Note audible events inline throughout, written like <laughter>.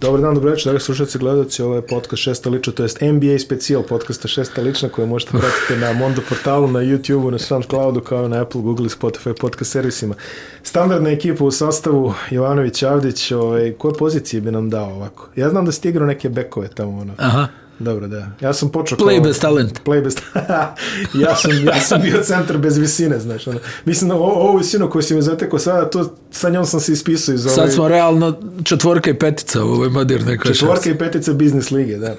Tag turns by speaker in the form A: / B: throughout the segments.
A: Dobar dan, dobro večer, dragi slušalci i gledalci, ovo je podcast Šesta lična, to jest NBA specijal podcasta Šesta lična koje možete pratiti na Mondo portalu, na YouTube-u, na SoundCloudu, kao i na Apple, Google i Spotify podcast servisima. Standardna ekipa u sastavu Jovanović Avdić, ovaj, koje pozicije bi nam dao ovako? Ja znam da ste igrao neke bekove tamo, ono.
B: Aha.
A: Dobro, da. Ja sam počeo
B: Play bez talenta.
A: Play bez <laughs> ja, sam, ja sam bio centar bez visine, znaš. Ono. Mislim, o, ovu visinu koju si me zatekao sada, to, sa njom sam se ispisao iz ove...
B: Sad smo realno četvorka i petica u ovoj modernoj košarci.
A: Četvorka i petica biznis lige, da.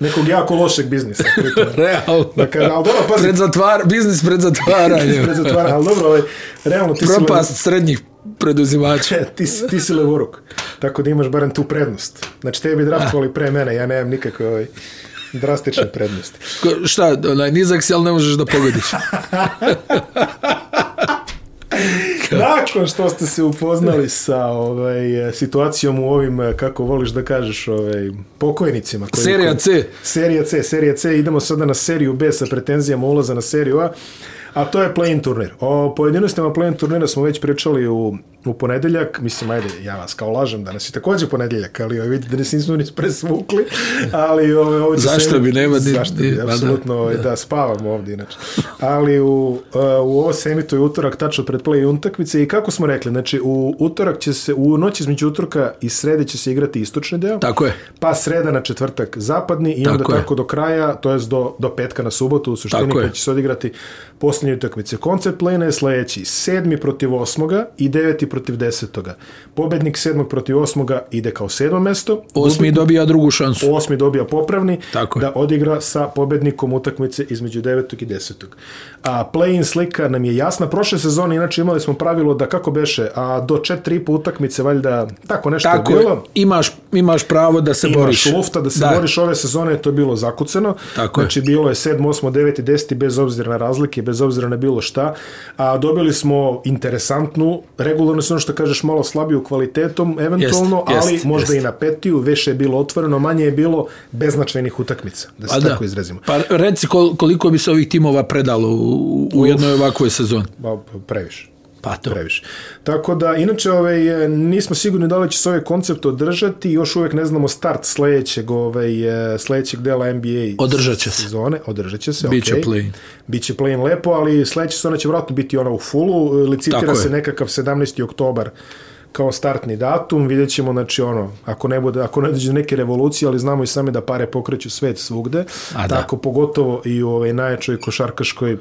A: Nekog jako lošeg biznisa. pritom.
B: Realno.
A: Dakle, ali dobro, pazi,
B: Pred zatvar, biznis pred zatvaranjem.
A: pred zatvaranje, ali dobro, ovaj, realno ti si,
B: Propast srednjih preduzimača.
A: le, ti, si- ti si levoruk, tako da imaš barem tu prednost. Znači, tebi bi draftovali pre mene, ja nemam nikakve ovaj, drastične prednosti.
B: Ko- Šta, onaj, nizak si, ali ne možeš da pogodiš. Dakle.
A: Nakon što ste se upoznali sa ovaj, eh, situacijom u ovim, eh, kako voliš da kažeš, ovaj, pokojnicima. Koji,
B: Serija
A: koji-
B: C.
A: Serija C, serija C, idemo sada na seriju B sa pretenzijama ulaza na seriju A, a to je play-in turnir. O pojedinostima play-in turnira smo već pričali u, u ponedeljak, mislim, ajde, ja vas kao lažem danas i takođe ponedeljak, ali ovaj, vidite da se nismo ni presvukli, ali ovaj, ovdje
B: Zašto
A: semi-
B: bi, nema ni-
A: Zašto
B: ni-
A: bi,
B: pa da.
A: apsolutno, ovaj, da, spavam ovdje inače. Ali u, uh, u ovo se emituje utorak tačno pred play utakmice i kako smo rekli, znači u utorak će se, u noć između utorka i srede će se igrati istočni deo.
B: Tako je.
A: Pa sreda na četvrtak zapadni i onda
B: Tako
A: tako,
B: je.
A: do kraja, to jest do, do petka na subotu u suštini
B: Tako je.
A: kada će se odigrati posljednje utakmice. Koncept plena je sledeći. Sedmi protiv osmoga i deveti protiv desetoga. Pobednik sedmog protiv osmoga ide kao sedmo mesto.
B: Osmi dobija drugu šansu.
A: Osmi dobija popravni
B: Tako je.
A: da odigra sa pobednikom utakmice između 9. i 10. A play-in slika nam je jasna. Prošle sezone inače imali smo pravilo da kako beše, a do 4,5 utakmice valjda tako nešto
B: Tako
A: je
B: je,
A: bilo
B: imaš, imaš pravo da se
A: imaš
B: boriš.
A: lufta da se boriš ove sezone je to bilo zakuceno.
B: Tako je.
A: znači bilo je 7, 8, 9 i 10 bez obzira na razlike, bez obzira na bilo šta. A dobili smo interesantnu, regularno se ono što kažeš malo slabiju kvalitetom eventualno,
B: Jest,
A: ali
B: jest,
A: možda
B: jest.
A: i na petiju, više je bilo otvoreno, manje je bilo beznačajnih utakmica, da se
B: Pa da.
A: tako izrazimo.
B: Pa reci kol, koliko bi se ovih timova predalo u, u jednoj ovakvoj sezoni.
A: Pa, previše.
B: Pa to.
A: previše. Tako da, inače, ovaj, e, nismo sigurni da li će se ovaj koncept održati, još uvek ne znamo start sledećeg, ovaj, e, sledećeg dela NBA
B: Održat će se.
A: sezone. Održat će se,
B: Biće
A: okej.
B: play-in.
A: Biće play-in lepo, ali sledeća sezona će vratno biti ona u fulu, E, licitira
B: Tako je.
A: se nekakav 17. oktobar kao startni datum, vidjet ćemo, znači ono, ako ne, bude, ako ne dođe do neke revolucije, ali znamo i sami da pare pokreću svet svugde,
B: A da.
A: tako pogotovo i u ovaj najjačoj košarkaškoj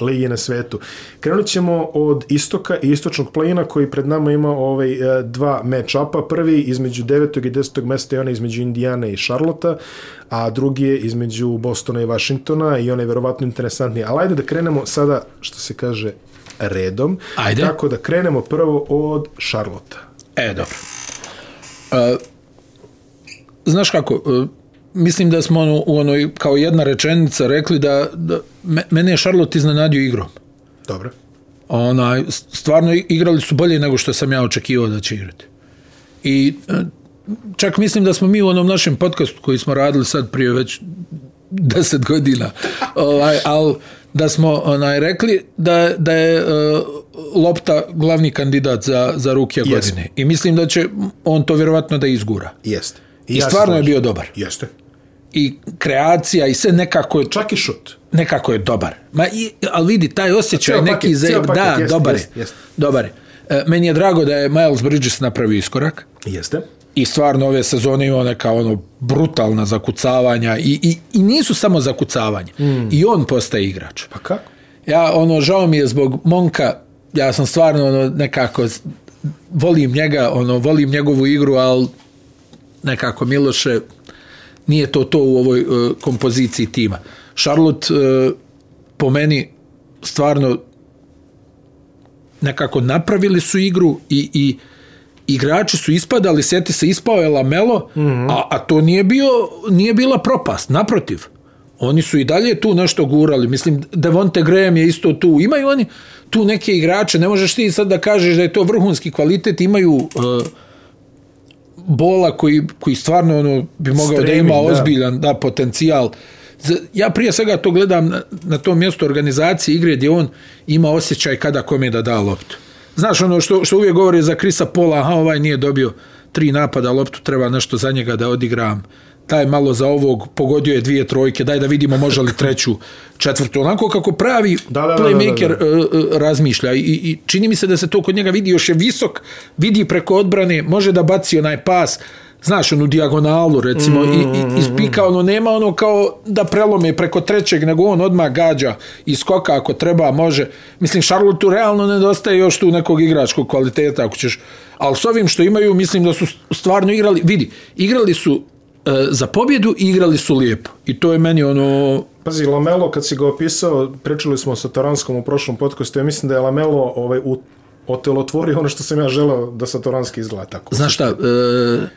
A: ligi na svetu. Krenut ćemo od istoka i istočnog plina koji pred nama ima ovaj e, dva match-upa. Prvi između 9. i 10. mesta je onaj između Indijane i Šarlota, a drugi je između Bostona i Vašingtona i onaj verovatno interesantniji. Ali ajde da krenemo sada, što se kaže, redom.
B: Ajde.
A: Tako da krenemo prvo od Šarlota.
B: E, dobro. E, znaš kako, e, mislim da smo ono, u onoj, kao jedna rečenica rekli da, da me, mene je Charlotte iznenadio igrom.
A: Dobro.
B: Onaj, stvarno igrali su bolje nego što sam ja očekivao da će igrati. I e, čak mislim da smo mi u onom našem podcastu koji smo radili sad prije već 10 godina, ovaj, ali da smo onaj, rekli da, da je e, Lopta glavni kandidat za, za rukija yes. godine. I mislim da će on to vjerovatno da izgura.
A: Jeste.
B: I
A: se
B: stvarno je
A: slažem.
B: bio dobar.
A: Jeste.
B: I kreacija i sve nekako je,
A: Čak i šut.
B: nekako je dobar. Ma, i, ali vidi, taj osjećaj
A: Ceo
B: neki
A: paket,
B: za...
A: ceo paket,
B: da,
A: jest,
B: dobar je.
A: jest, jest.
B: Dobar je. E, meni je drago da je Miles Bridges napravio iskorak
A: Jeste.
B: i stvarno ove sezone ima neka ono brutalna zakucavanja i, i, i nisu samo zakucavanja. Mm. I on postaje igrač.
A: Pa kako?
B: Ja, ono, žao mi je zbog Monka, ja sam stvarno, ono, nekako, s- volim njega, ono, volim njegovu igru, ali nekako Miloše, nije to to u ovoj uh, kompoziciji tima. Charlotte, uh, po meni, stvarno, nekako napravili su igru i, i igrači su ispadali, sjeti se, ispao je Lamelo, mm
A: Mhm.
B: -hmm. a, a to nije, bio, nije bila propast, naprotiv. Oni su i dalje tu nešto gurali. Mislim, Devonte Graham je isto tu. Imaju oni tu neke igrače. Ne možeš ti sad da kažeš da je to vrhunski kvalitet. Imaju uh, bola koji, koji stvarno ono, bi mogao da
A: Streaming,
B: ima
A: da.
B: ozbiljan da. potencijal. Z- Ja prije svega to gledam na, na tom mjestu organizacije igre gdje on ima osjećaj kada kome da da loptu. Znaš ono što, što uvijek govore za Krisa Pola, aha ovaj nije dobio tri napada loptu, treba nešto za njega da odigram. Daj malo za ovog, pogodio je dvije trojke, daj da vidimo može li treću, četvrtu. Onako kako pravi
A: Da, da, da, da, da.
B: playmaker e, e, razmišlja I, i čini mi se da se to kod njega vidi, još je visok, vidi preko odbrane, može da baci onaj pas, znaš, onu dijagonalu recimo, i, i, iz pika, ono, nema ono kao da prelome preko trećeg, nego on odmah gađa i skoka ako treba, može. Mislim, Charlotteu realno nedostaje još tu nekog igračkog kvaliteta, ako ćeš, ali s ovim što imaju, mislim da su stvarno igrali, vidi, igrali su e, za pobjedu i igrali su lijepo. I to je meni ono,
A: Pazi, Lamelo, kad si ga opisao, pričali smo sa Taranskom u prošlom podcastu, ja mislim da je Lamelo ovaj, u, otelotvorio ono što sam ja želeo da sa Taranski izgleda tako.
B: znaš šta, e,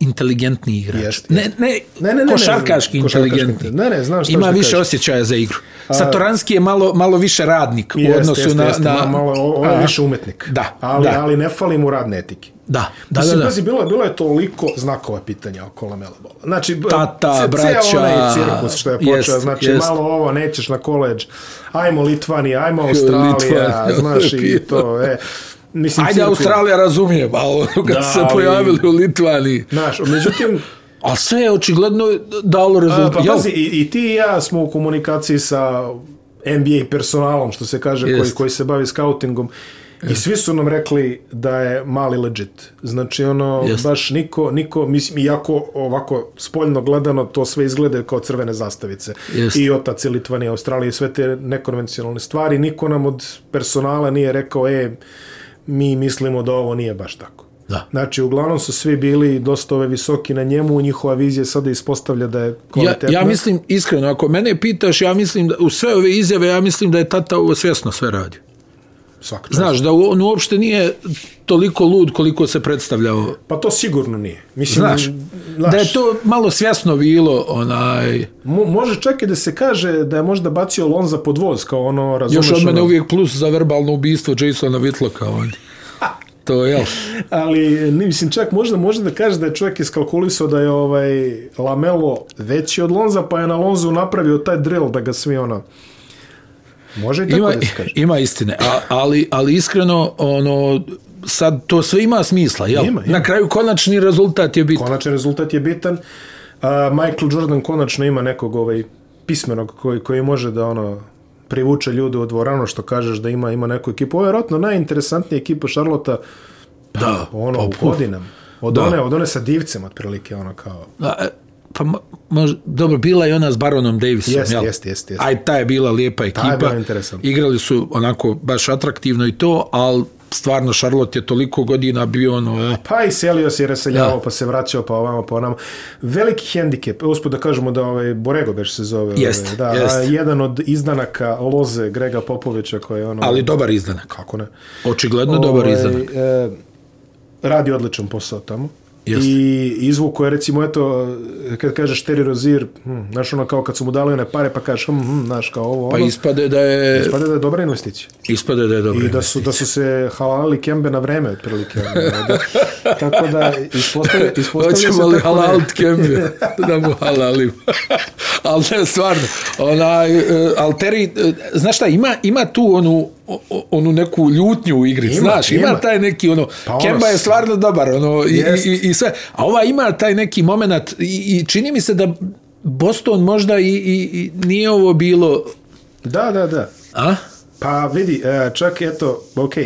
B: inteligentni igrač.
A: Jeste,
B: Ne, ne, ne, ne, ne, košarkaši
A: košarkaški
B: inteligentni.
A: Ne, ne, znam šta
B: Ima
A: hoćeš da
B: više
A: kažeš.
B: osjećaja za igru. Satoranski je malo, malo više radnik u
A: Jeste,
B: odnosu
A: jeste,
B: na...
A: jeste,
B: na
A: ma- malo, on je
B: a,
A: više umetnik.
B: Da,
A: ali,
B: da.
A: ali ne fali mu radne etike.
B: Da, da, da,
A: Mislim,
B: da.
A: Pazi, bilo je, bilo je toliko znakova pitanja oko Lamela Bola. Znači, b-
B: Tata,
A: ce- ceo
B: braća,
A: onaj cirkus što je počeo,
B: jest,
A: znači,
B: jest.
A: malo ovo, nećeš na koleđ, ajmo Litvanija, ajmo Australija,
B: <laughs> Litvanija,
A: znaš, i to, e. Mislim,
B: Ajde,
A: cirkus.
B: Australija razumije, ali <laughs> kad
A: Da,
B: su se
A: ali-
B: pojavili u Litvaniji.
A: Znaš, međutim,
B: A sve je očigledno dalo
A: a,
B: rezultat.
A: pa
B: Jel?
A: pazi, i, i ti i ja smo u komunikaciji sa NBA personalom, što se kaže, koji,
B: Jest.
A: koji se bavi scoutingom, I svi su nam rekli da je mali legit. Znači, ono,
B: Jest.
A: baš niko, niko, mislim, iako ovako spoljno gledano, to sve izgleda kao crvene zastavice.
B: Jest.
A: I otac i Litvanija, Australija, i sve te nekonvencionalne stvari. Niko nam od personala nije rekao, e, mi mislimo da ovo nije baš tako.
B: Da.
A: Znači, uglavnom su svi bili dosta ove visoki na njemu, njihova vizija sada ispostavlja da je kvalitetna.
B: Ja, ja mislim, iskreno, ako mene pitaš, ja mislim, da, u sve ove izjave, ja mislim da je tata ovo svjesno sve radio.
A: Svaka čast.
B: Znaš, da on uopšte nije toliko lud koliko se predstavljao.
A: Pa to sigurno nije. Mislim,
B: Znaš,
A: znaš
B: Da je to malo svjesno bilo, onaj,
A: mo- može čak i da se kaže da je možda bacio Lonza pod voz, kao ono, razumeš?
B: još od mene
A: ono,
B: uvijek plus za verbalno ubistvo Jasona Whitlocka, on. To je, jel?
A: Ali, ne, mislim, čak možda može da kaže da je čovjek iskalkulisao da je ovaj Lamelo veći od Lonza, pa je na Lonzu napravio taj drill da ga svi ono... Može i tako
B: Ima,
A: da se kaže.
B: ima istine, A, ali, ali iskreno, ono, sad to sve ima smisla, jel?
A: Ima, ima.
B: Na kraju konačni rezultat je biti.
A: Konačan rezultat je bitan. A, Michael Jordan konačno ima nekog ovaj pismenog koji, koji može da ono privuče ljude u dvoranu što kažeš da ima ima neku ekipu. Ovo je vjerojatno najinteresantnija ekipa Šarlota
B: Da,
A: ono
B: pa,
A: u
B: puh.
A: godinama. Od
B: Da.
A: one, od one sa divcem otprilike ono kao.
B: A, e, pa mo- mož, dobro, bila je ona s Baronom Davisom,
A: Jeste,
B: jel?
A: jeste, jeste, jeste.
B: Aj, ta je bila lijepa ekipa.
A: bila interesantna.
B: Igrali su onako baš atraktivno i to, ali stvarno Charlotte je toliko godina bio ono... eh,
A: Pa i selio se i raseljavao,
B: Da.
A: pa se vraćao, pa ovamo, pa onamo. Veliki hendikep, uspud da kažemo da ovaj Borego beš se zove.
B: Jeste,
A: ovaj, da,
B: jeste.
A: a jedan od izdanaka Loze Grega Popovića koji je ono...
B: Ali dobar izdanak.
A: Kako ne?
B: Očigledno dobar
A: Ovaj,
B: izdanak.
A: E, radi odličan posao tamo.
B: Jeste.
A: I izvuko je recimo, eto, kad kažeš Terry Rozier, hm, znaš ono kao kad su mu dali one pare pa kažeš, hm, hm, znaš kao ovo,
B: Pa
A: ono,
B: ispade da je,
A: ispada da je dobra investicija.
B: ispade da je dobar
A: I da su, da su se halalili kembe na vreme, otprilike.
B: <laughs>
A: ono, da, tako da, ispostavlja, ispostavlja se
B: Hoćemo li
A: tako ne-
B: halalit
A: <laughs>
B: kemiju? da mu <laughs> halalim. ali ne, stvarno. Onaj, e, alteri, e, znaš šta, ima, ima tu onu, o- o- onu neku ljutnju u igri,
A: Ima,
B: znaš, ima,
A: ima.
B: taj neki ono,
A: Pa ono,
B: Kemba je stvarno dobar, ono, i,
A: Jest.
B: i, i, i sve, a ova ima taj neki moment i, i čini mi se da Boston možda i, i, i nije ovo bilo,
A: Da, da, da.
B: a?
A: Pa vidi, e, čak eto, ok,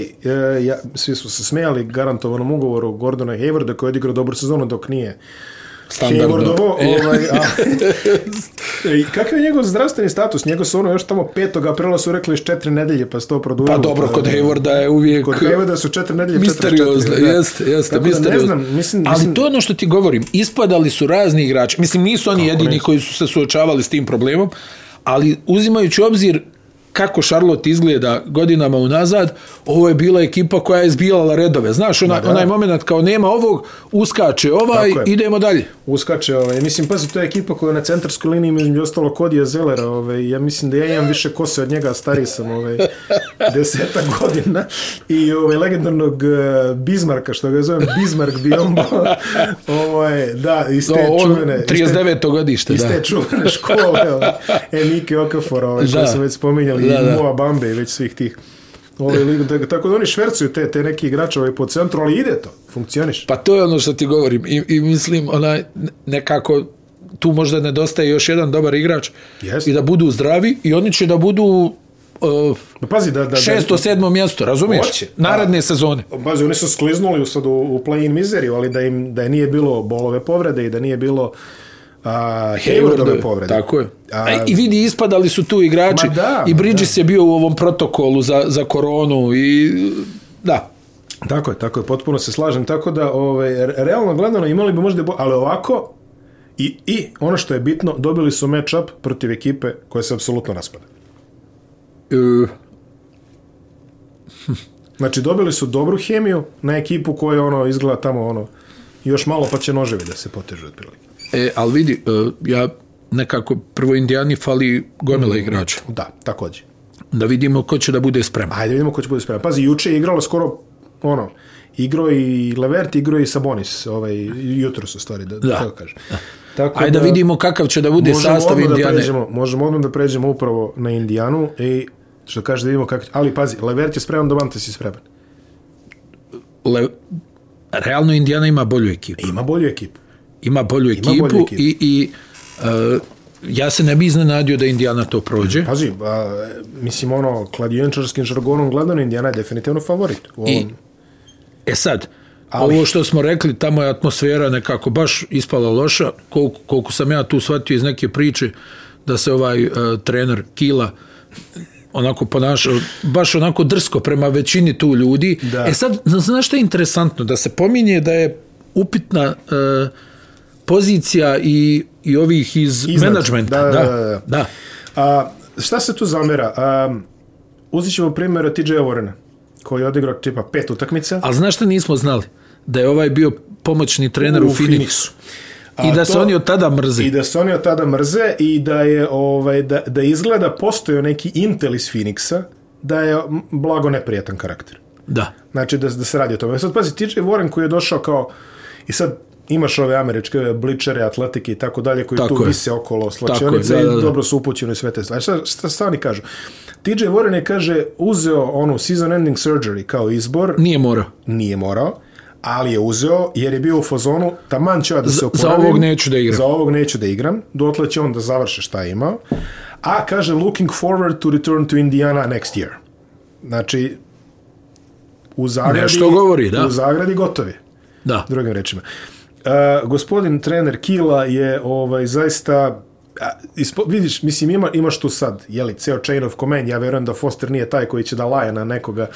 A: ja, svi smo se smijali garantovanom ugovoru Gordona Haywarda koji je odigrao dobru sezonu dok nije
B: <laughs>
A: Haywardovo. Ovaj, a, E, I kakav je njegov zdravstveni status? Njegov su ono još tamo 5. aprila su rekli još četiri nedelje pa se to produžilo.
B: Pa dobro, kod Haywarda je uvijek...
A: Kod Haywarda su četiri nedelje, četiri
B: Misteriozno,
A: četiri. da.
B: jeste, jeste,
A: Tako da ne
B: misteriozno.
A: znam, mislim,
B: Ali
A: mislim,
B: to je ono što ti govorim, ispadali su razni igrači, mislim nisu oni jedini
A: nisu?
B: koji su se suočavali s tim problemom, ali uzimajući u obzir kako Charlotte izgleda godinama unazad, ovo je bila ekipa koja je izbijala redove. Znaš, ona,
A: da.
B: onaj moment kao nema ovog, uskače ovaj,
A: Tako je.
B: idemo dalje.
A: uskače. Ovaj. Mislim, pazi, to je ekipa koja je na centarskoj liniji među ostalo Kodija Zelera. Ovaj. Ja mislim da ja imam više kose od njega, a stariji sam ovaj,
B: <laughs>
A: deseta godina. I ovaj, legendarnog eh, Bismarka, što ga zovem Bismarck
B: <laughs>
A: Biombo. ovaj, da, iz te
B: O, on,
A: čuvene... iz te-
B: 39. godište,
A: iz
B: da.
A: te
B: <laughs>
A: čuvene škole, ovaj, Enike Okafor, ovaj,
B: Da.
A: koje su već spominjali,
B: Da,
A: da,
B: da.
A: i Moa Bambe i već svih tih. Ovaj ligu, da- tako da oni švercuju te, te neki igrače ovaj po centru, ali ide to, funkcioniš.
B: Pa to je ono što ti govorim i, i mislim onaj nekako tu možda nedostaje još jedan dobar igrač
A: Jeste.
B: i da budu zdravi i oni će da budu uh,
A: Pa pazi da... da, da
B: šesto, sedmo mjesto, razumiješ?
A: Hoće.
B: Naredne sezone.
A: Pazi, oni su skliznuli u- sad u, u play-in mizeriju, ali da im da je nije bilo bolove povrede i da nije bilo a, Haywardove povrede.
B: Tako je. A,
A: A-
B: I vidi, ispadali su tu igrači.
A: Ma da,
B: I
A: ma
B: Bridges je bio u ovom protokolu za, za koronu i da.
A: Tako je, tako je, potpuno se slažem. Tako da, ovaj, re- realno gledano, imali bi možda, i bo- ali ovako, i, i ono što je bitno, dobili su match-up protiv ekipe koja se apsolutno raspada.
B: E,
A: Znači, dobili su dobru hemiju na ekipu koja ono izgleda tamo ono, još malo pa će noževi da se potežu otprilike.
B: E, ali vidi, e, ja nekako prvo Indijani fali gomila
A: Mm.
B: igrača.
A: Da, takođe.
B: Da vidimo ko će da bude spreman.
A: Ajde vidimo ko će bude spreman. Pazi, juče je igralo skoro ono, igro i Levert, igro i Sabonis, ovaj, jutro su stvari, da, da. tako kažem. Tako
B: Ajde da vidimo kakav će da bude
A: možemo
B: sastav
A: odmah Da
B: Indijane.
A: pređemo, možemo odmah da pređemo upravo na Indijanu i što kaže da vidimo kako... Ali pazi, Levert je spreman, Domantas je spreman.
B: Le, realno Indijana ima bolju ekipu.
A: Ima bolju ekipu.
B: Ima bolju ekipu, ima bolju
A: bolju
B: ekipu.
A: ekipu.
B: i, i e, ja se ne bi iznenadio da Indijana to prođe.
A: Pazi, a, mislim ono, kladioničarskim žargonom gledano, Indijana je definitivno favorit. U ovom.
B: I, e sad, Ali... ovo što smo rekli, tamo je atmosfera nekako baš ispala loša, koliko, koliko sam ja tu shvatio iz neke priče, da se ovaj e, trener Kila onako ponašao, baš onako drsko prema većini tu ljudi.
A: Da.
B: E sad, zna- znaš što je interesantno? Da se pominje da je upitna e, pozicija i, i ovih iz
A: Iznad.
B: menadžmenta.
A: Da,
B: da,
A: da, da.
B: da. da.
A: A, šta se tu zamera? A, uzet ćemo primjer TJ Warrena, koji je odigrao tipa pet utakmica.
B: Ali znaš što nismo znali? Da je ovaj bio pomoćni trener u,
A: U
B: u Phoenixu. I
A: A
B: da se
A: to-
B: oni od tada mrze.
A: I da se oni od tada mrze i da je ovaj da, da izgleda postojao neki Intel iz Phoenixa da je m, blago neprijatan karakter.
B: Da.
A: Znači da, da se radi o tome. Sad pazi, TJ Warren koji je došao kao i sad imaš ove američke bličere, atletike i tako dalje koji
B: Tako
A: tu
B: je.
A: vise okolo slačionice
B: je,
A: i
B: da, da, da.
A: dobro su upućeni u sve te stvari. Šta, šta, šta oni kažu? TJ Warren je, kaže, uzeo onu season ending surgery kao izbor,
B: Nije morao.
A: nije morao, ali je uzeo jer je bio u fazonu taman ću ja da se
B: Za- za
A: oporavim.
B: ovog neću da igram.
A: Za ovog neću da igram. Dotle će on da završi šta je imao. A kaže looking forward to return to Indiana next year. Znači, u zagradi,
B: Nešto govori, da.
A: U zagradi gotovi,
B: Da.
A: drugim rečima. E, gospodin trener Kila je ovaj zaista a, Ispo, vidiš, mislim, ima, imaš tu sad, jeli, ceo chain of command, ja verujem da Foster nije taj koji će da laje na nekoga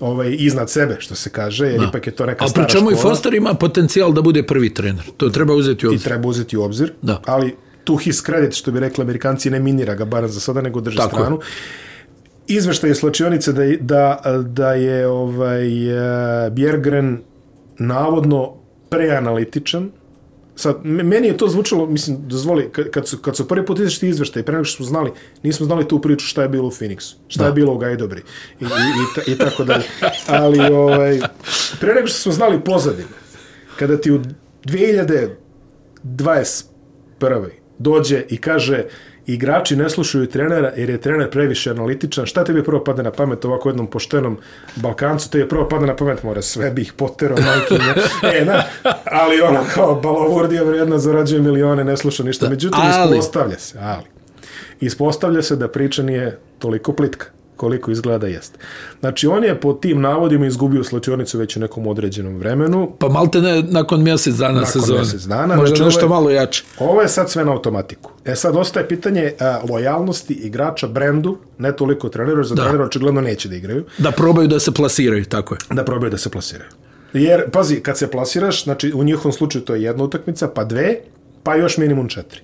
A: ovaj, iznad sebe, što se kaže, jer ipak je to neka
B: A
A: stara
B: pri čemu i
A: škola.
B: Foster ima potencijal da bude prvi trener. To treba uzeti u
A: i
B: obzir.
A: treba uzeti u obzir,
B: Da.
A: ali tu his credit, što bi rekli amerikanci, ne minira ga bar za sada, nego drži
B: Tako
A: Tako.
B: je.
A: stranu. Izveštaj je slačionice da, je- da, da je ovaj, eh, Bjergren navodno preanalitičan. Sad, me- meni je to zvučalo, mislim, dozvoli, ka- kad su, kad su prvi put izašli izveštaj, pre nego što smo znali, nismo znali tu priču šta je bilo u Phoenixu, šta da. je bilo u Gajdobri i, i, i, ta, i tako dalje. Ali, ovaj, pre nego što smo znali pozadinu, kada ti u 2000, 21. dođe i kaže igrači ne slušaju trenera jer je trener previše analitičan. Šta tebi prvo pada na pamet ovako jednom poštenom Balkancu? Tebi prvo pada na pamet, mora sve bi ih poterao, majke. mi. E, na, ali ono kao balovurdija vrijedna, zarađuje milione, ne sluša ništa. Međutim,
B: ali-
A: ispostavlja se, ali. Ispostavlja se da priča nije toliko plitka koliko izgleda da jeste. Znači, on je po tim navodima izgubio slučionicu već u nekom određenom vremenu.
B: Pa malte ne nakon mjesec dana
A: Nakon
B: sezone.
A: mjesec dana, znači,
B: Možda znači,
A: ovo je-
B: nešto malo jače.
A: Ovo je sad sve na automatiku. E sad ostaje pitanje a, lojalnosti igrača brendu, ne toliko treneru, za da. trenera očigledno neće da igraju,
B: Da probaju da se plasiraju, tako je.
A: da probaju da se plasiraju. Jer, pazi, kad se plasiraš, znači u njihovom slučaju to je jedna utakmica, pa dve, pa još minimum četiri.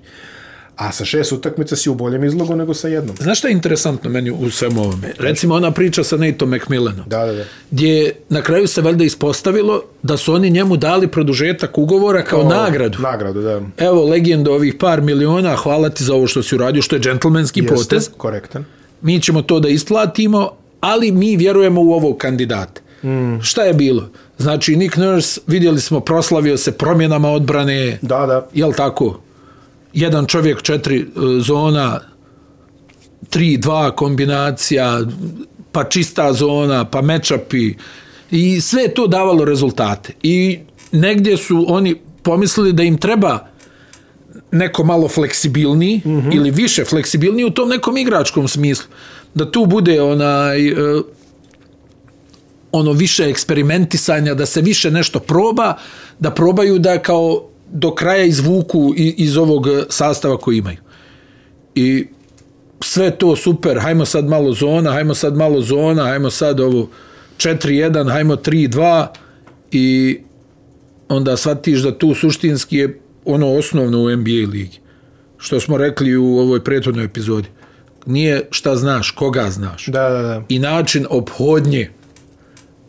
A: A sa šest utakmica si u boljem izlogu nego sa jednom.
B: Znaš šta je interesantno meni u svemu ovome? Recimo ona priča sa Nateom McMillanom.
A: Da, da, da.
B: Gdje na kraju se valjda ispostavilo da su oni njemu dali produžetak ugovora kao o, nagradu.
A: Nagradu, da.
B: Evo, legendo ovih par miliona, hvala ti za ovo što si uradio, što je džentlmenski
A: Jeste,
B: potez.
A: Korektan.
B: mi ćemo to da isplatimo, ali mi vjerujemo u ovog kandidata. Mm. Šta je bilo? Znači, Nick Nurse, vidjeli smo, proslavio se promjenama odbrane,
A: Da, da.
B: jel tako? Jedan čovjek, četiri e, zona, 3-2 kombinacija, pa čista zona, pa mečapi i sve je to davalo rezultate. I negdje su oni pomislili da im treba neko malo fleksibilniji mm -hmm. ili više fleksibilniji u tom nekom igračkom smislu. Da tu bude onaj e, ono više eksperimentisanja, da se više nešto proba, da probaju da kao do kraja izvuku i- iz ovog e, sastava koji imaju. I sve to super, hajmo sad malo zona, hajmo sad malo zona, hajmo sad ovo 4-1, hajmo 3-2 i onda shvatiš da tu suštinski je ono osnovno u NBA ligi. Što smo rekli u ovoj prethodnoj epizodi. Nije šta znaš, koga znaš.
A: Da, da, da.
B: I način obhodnje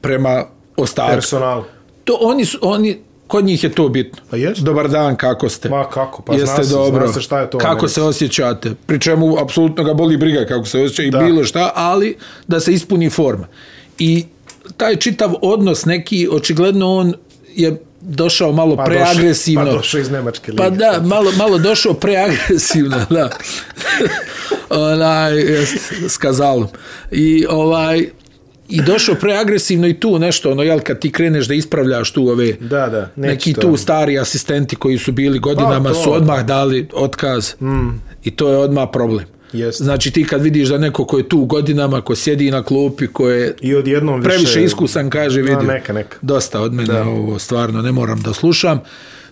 B: prema ostatku.
A: Personal.
B: To oni su, oni, kod njih je to bitno.
A: Pa jest.
B: Dobar dan, kako ste?
A: Ma, kako, pa zna
B: Jeste
A: se-
B: dobro.
A: zna se šta je to u
B: Kako
A: Americi.
B: se osjećate? Pri čemu apsolutno ga boli briga kako se osjeća i bilo šta, ali da se ispuni forma. I taj čitav odnos neki, očigledno on je došao malo
A: Pa došao-
B: preagresivno.
A: Pa došao iz Nemačke lige.
B: Pa da, malo, malo došao preagresivno,
A: <laughs>
B: da. onaj, jest, s kazalom. I ovaj, i došao preagresivno i tu nešto, ono, jel, kad ti kreneš da ispravljaš tu ove,
A: Da, da. neće
B: neki
A: to.
B: tu stari asistenti koji su bili godinama
A: Pa, to.
B: su odmah dali otkaz mm. i to je odmah problem.
A: Jeste.
B: Znači ti kad vidiš da neko ko je tu godinama, ko sjedi na klupi, ko je
A: I odjednom više...
B: previše iskusan, kaže, vidi,
A: neka, neka.
B: dosta od mene da. ovo, stvarno ne moram da slušam,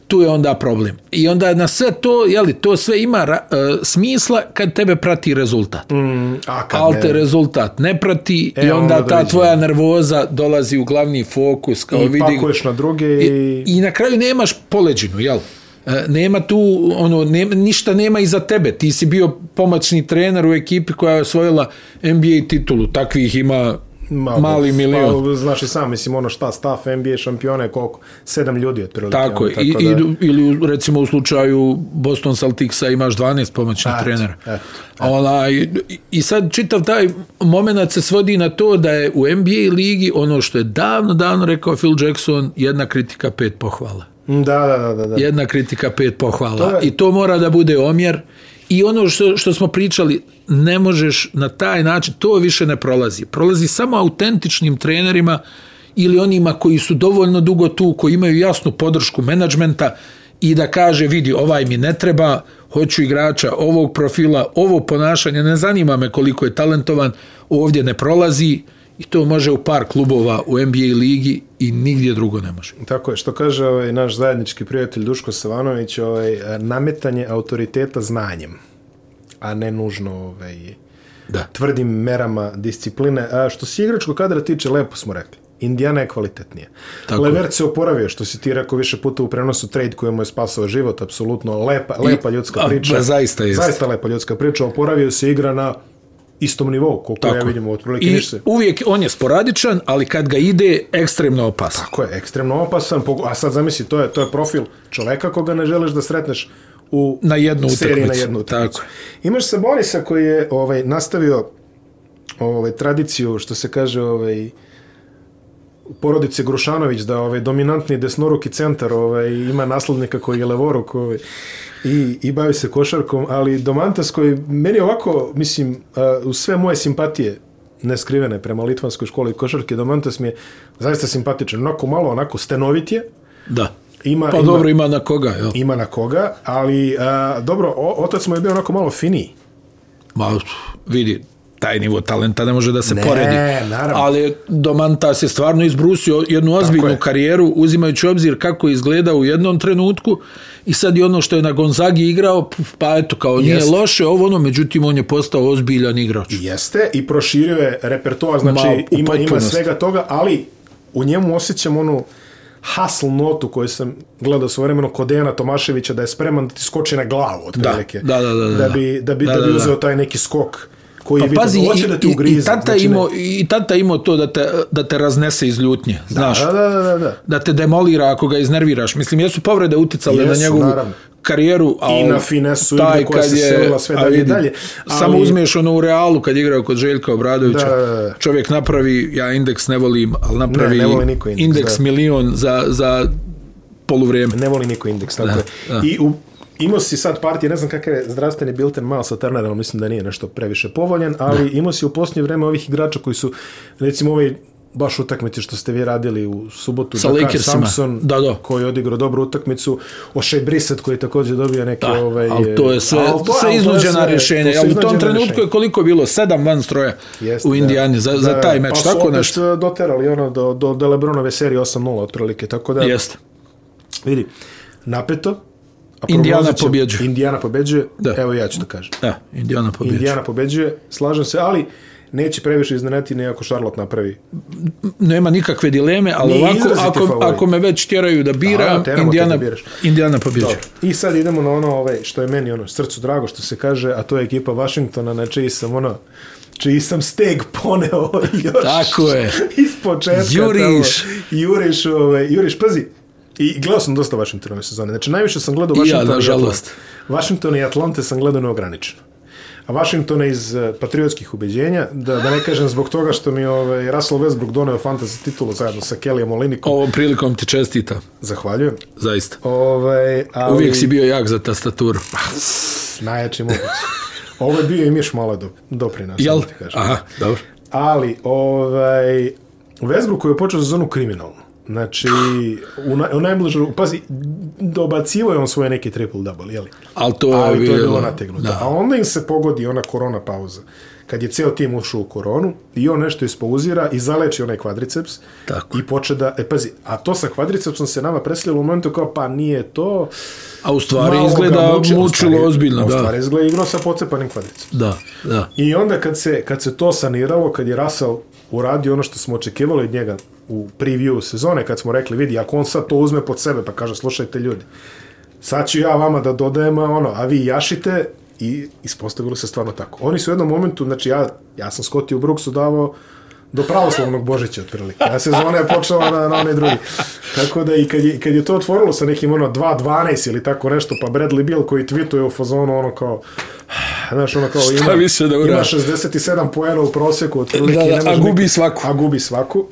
B: tu je onda problem. I onda na sve to, jeli, to sve ima ra- e, smisla kad tebe prati rezultat. Mm.
A: Mm, a kad
B: Ali
A: ne,
B: te rezultat ne prati e, i onda,
A: onda
B: onda ta
A: doviđenja.
B: tvoja nervoza dolazi u glavni fokus. Kao
A: I
B: vidi,
A: pakuješ na druge i...
B: I na kraju nemaš poleđinu, jel? E, Nema tu, ono, nema, ništa nema iza tebe. Ti si bio pomoćni trener u ekipi koja je osvojila NBA titulu. Takvih ima Malo, mali milion.
A: Pa, znaš i sam, mislim, ono šta, staff NBA šampione, koliko? Sedam ljudi otprilike.
B: Tako
A: ono,
B: je. I,
A: da-
B: i, ili recimo u slučaju Boston Celticsa imaš 12 pomoćnih
A: Eto,
B: trenera.
A: eto,
B: Onaj, i- I sad čitav taj moment se svodi na to da je u NBA ligi ono što je davno, davno rekao Phil Jackson, jedna kritika, pet pohvala.
A: Da, da, da, da. da.
B: Jedna kritika, pet pohvala.
A: To je-
B: I to mora da bude omjer. I ono što, što smo pričali, ne možeš na taj način, to više ne prolazi. Prolazi samo autentičnim trenerima ili onima koji su dovoljno dugo tu, koji imaju jasnu podršku menadžmenta i da kaže, vidi, ovaj mi ne treba, hoću igrača ovog profila, ovo ponašanje, ne zanima me koliko je talentovan, ovdje ne prolazi i to može u par klubova u NBA ligi i nigdje drugo ne može.
A: Tako je, što kaže ovaj, naš zajednički prijatelj Duško Savanović, ovaj, e, nametanje autoriteta znanjem, a ne nužno ovaj,
B: Da.
A: tvrdim merama discipline. A što se igračko kadra tiče, lepo smo rekli. Indijana je kvalitetnija.
B: Tako
A: Tako
B: je.
A: Levert se oporavio, što si ti rekao više puta u prenosu trade koji mu je spasao život, apsolutno lepa, lepa ljudska
B: a,
A: priča.
B: ba, zaista jest.
A: Zaista lepa ljudska priča, oporavio se igra na istom nivou, koliko
B: Tako
A: ja
B: je.
A: vidim, otprilike
B: I
A: ništa se
B: uvijek on je sporadičan, ali kad ga ide, ekstremno opasan.
A: Ko je ekstremno opasan, pogo- a sad zamisli, to je, to je profil čoveka koga ne želiš da sretneš u
B: Na jednu
A: seriji
B: utakmicu,
A: na jednu utakmicu.
B: tako je.
A: Imaš se Bonisa koji je ovaj, nastavio ovaj, tradiciju, što se kaže, ovaj, porodice Grušanović, da ovaj dominantni desnoruki centar ovaj, ima naslednika koji je levoruk ovaj, i, i bavi se košarkom, ali Domantas koji meni ovako, mislim, a, u sve moje simpatije neskrivene prema Litvanskoj školi košarke, Domantas mi je zaista simpatičan, onako malo, onako stenovit je,
B: Da.
A: ima,
B: Pa
A: ima,
B: dobro, ima na koga, jel?
A: ima na koga, ali a, dobro, o, otac mu je bio onako malo finiji.
B: Ma, vidi, taj nivo talenta ne može da se
A: Ne,
B: poredi.
A: naravno.
B: Ali Domantas je stvarno izbrusio jednu ozbiljnu
A: je.
B: karijeru, uzimajući u obzir kako je izgledao u jednom trenutku i sad i ono što je na Gonzagi igrao, pf, pa eto, kao nije
A: Jeste.
B: loše ovo, ono, međutim, on je postao ozbiljan igrač.
A: Jeste i proširio je repertoar, znači
B: Ma, u
A: ima, ima
B: potpunosti.
A: svega toga, ali u njemu osjećam onu hustle notu koju sam gledao svojevremeno kod Dejana Tomaševića da je spreman da ti skoči na glavu otprilike.
B: da, da, da, da,
A: da, bi, da, bi, da, da, bi uzeo taj neki skok koji je
B: Pa
A: bitan.
B: pazi,
A: Hoće
B: i,
A: da ti
B: i,
A: ugrize.
B: i, tata
A: znači, ne-
B: imao, i tata imao to da te, da te raznese iz ljutnje, znaš.
A: Da, da, da, da, da.
B: da te demolira ako ga iznerviraš. Mislim, jesu povrede uticale
A: Jesu,
B: na njegovu
A: naravno.
B: karijeru. A
A: I
B: on-
A: na finesu
B: taj
A: igre koja
B: kad
A: se
B: je-
A: selila sve
B: a
A: dalje i
B: vidi,
A: dalje,
B: Samo
A: ali-
B: uzmeš ono u realu kad je igrao kod Željka Obradovića.
A: Da, da, da.
B: Čovjek napravi, ja indeks ne volim, ali napravi
A: Ne, ne voli niko indeks,
B: indeks
A: da.
B: milion za, za poluvrijeme.
A: Ne voli niko indeks. Tako je.
B: da.
A: I u, Imao si sad partije, ne znam kakav je zdravstveni bilten malo sa Turnerom, mislim da nije nešto previše povoljan, ali imao si u posljednje vreme ovih igrača koji su, recimo ovaj baš utakmice što ste vi radili u subotu
B: Sa Lakersima.
A: Samson
B: Da, da.
A: koji je odigrao dobru utakmicu O'Shea Brissett koji je također dobio neke da, ovaj
B: ali to je sve,
A: ali to-
B: sve
A: ali to je
B: iznuđena
A: sve- to
B: rješenja.
A: su
B: Jel, u tom
A: iznuđena
B: trenutku
A: rješenja.
B: je koliko je bilo? Sedam van stroja
A: Jeste,
B: u Indijani za, za taj meč.
A: Pa su
B: tako
A: opet,
B: nešto.
A: e, doterali ono do, do, do Lebronove serije 8-0 otprilike, tako da
B: Jeste.
A: vidi, napeto. A
B: Indiana
A: prognozit će-
B: pobjeđuje.
A: Indiana pobeđuje,
B: Da.
A: evo ja ću to kažem.
B: Da, Indiana pobjeđuje.
A: Indiana pobeđuje, slažem se, ali neće previše iznenati ni ako Charlotte napravi.
B: Nema nikakve dileme, ali
A: Nije
B: ovako,
A: izraziti
B: ako,
A: favorit.
B: ako me već tjeraju da biram,
A: Da, teramo te
B: Indiana,
A: da biraš.
B: Indiana pobjeđuje.
A: Dobro. I sad idemo na ono ovaj, što je meni ono srcu drago što se kaže, a to je ekipa Washingtona na čiji sam ono čiji sam steg poneo <laughs> još
B: Tako je.
A: iz početka
B: Juriš.
A: tamo. juriš ovaj, juriš pazi i gledao sam dosta Washingtonove sezone znači najviše sam gledao
B: I ja,
A: Washingtona
B: nažalost.
A: Atlante. Washingtona i Atlante sam gledao neograničeno a Washingtona iz eh, patriotskih ubeđenja, da, da ne kažem zbog toga što mi ovaj, Russell Westbrook doneo fantasy titulu zajedno sa Kellyjem Olinikom.
B: Ovom prilikom ti čestitam,
A: Zahvaljujem.
B: zaista.
A: Ovaj, ali... Pa,
B: Uvijek si bio jak za tastaturu.
A: najjači mogući. Ovo je bio i miš malo do, doprinos.
B: Jel?
A: da ti kažem.
B: Aha, dobro.
A: Ali, ovaj, Westbrook je počeo sezonu kriminalno. Znači, u, na, u najbližu, pazi, dobacivo je on svoje neki triple-double, jeli?
B: Ali to je,
A: Ali to je bilo
B: bilo-
A: nategnuto.
B: Da.
A: A onda im se pogodi ona korona pauza. Kad je ceo tim ušao u koronu i on nešto ispauzira i zaleči onaj kvadriceps
B: Tako.
A: i poče da, e pazi, a to sa kvadricepsom se nama preslilo u momentu kao pa nije to,
B: A u stvari
A: Malo ga
B: izgleda
A: muči- u stvari-
B: mučilo ozbiljno,
A: U
B: da.
A: stvari izgleda igrao sa pocepanim kvadricom.
B: Da, da.
A: I onda kad se, kad se to saniralo, kad je Russell uradio ono što smo očekivali od njega u preview sezone, kad smo rekli, vidi, ako on sad to uzme pod sebe, pa kaže, slušajte ljudi, sad ću ja vama da dodajem, a ono, a vi jašite, i ispostavilo se stvarno tako. Oni su u jednom momentu, znači ja, ja sam Scotti u Brooksu davao do pravoslavnog Božića otprilike. A sezona je počela na, na onaj drugi. Tako da i kad je, kad je to otvorilo sa nekim ono 2.12 ili tako nešto, pa Bradley Bill koji tweetuje u fazonu ono kao Znaš, ono kao
B: Šta
A: ima,
B: više da
A: ima
B: uradi?
A: 67 poena u proseku, otprilike,
B: Da, da,
A: ne može
B: a gubi
A: nikad-
B: svaku.
A: A gubi svaku.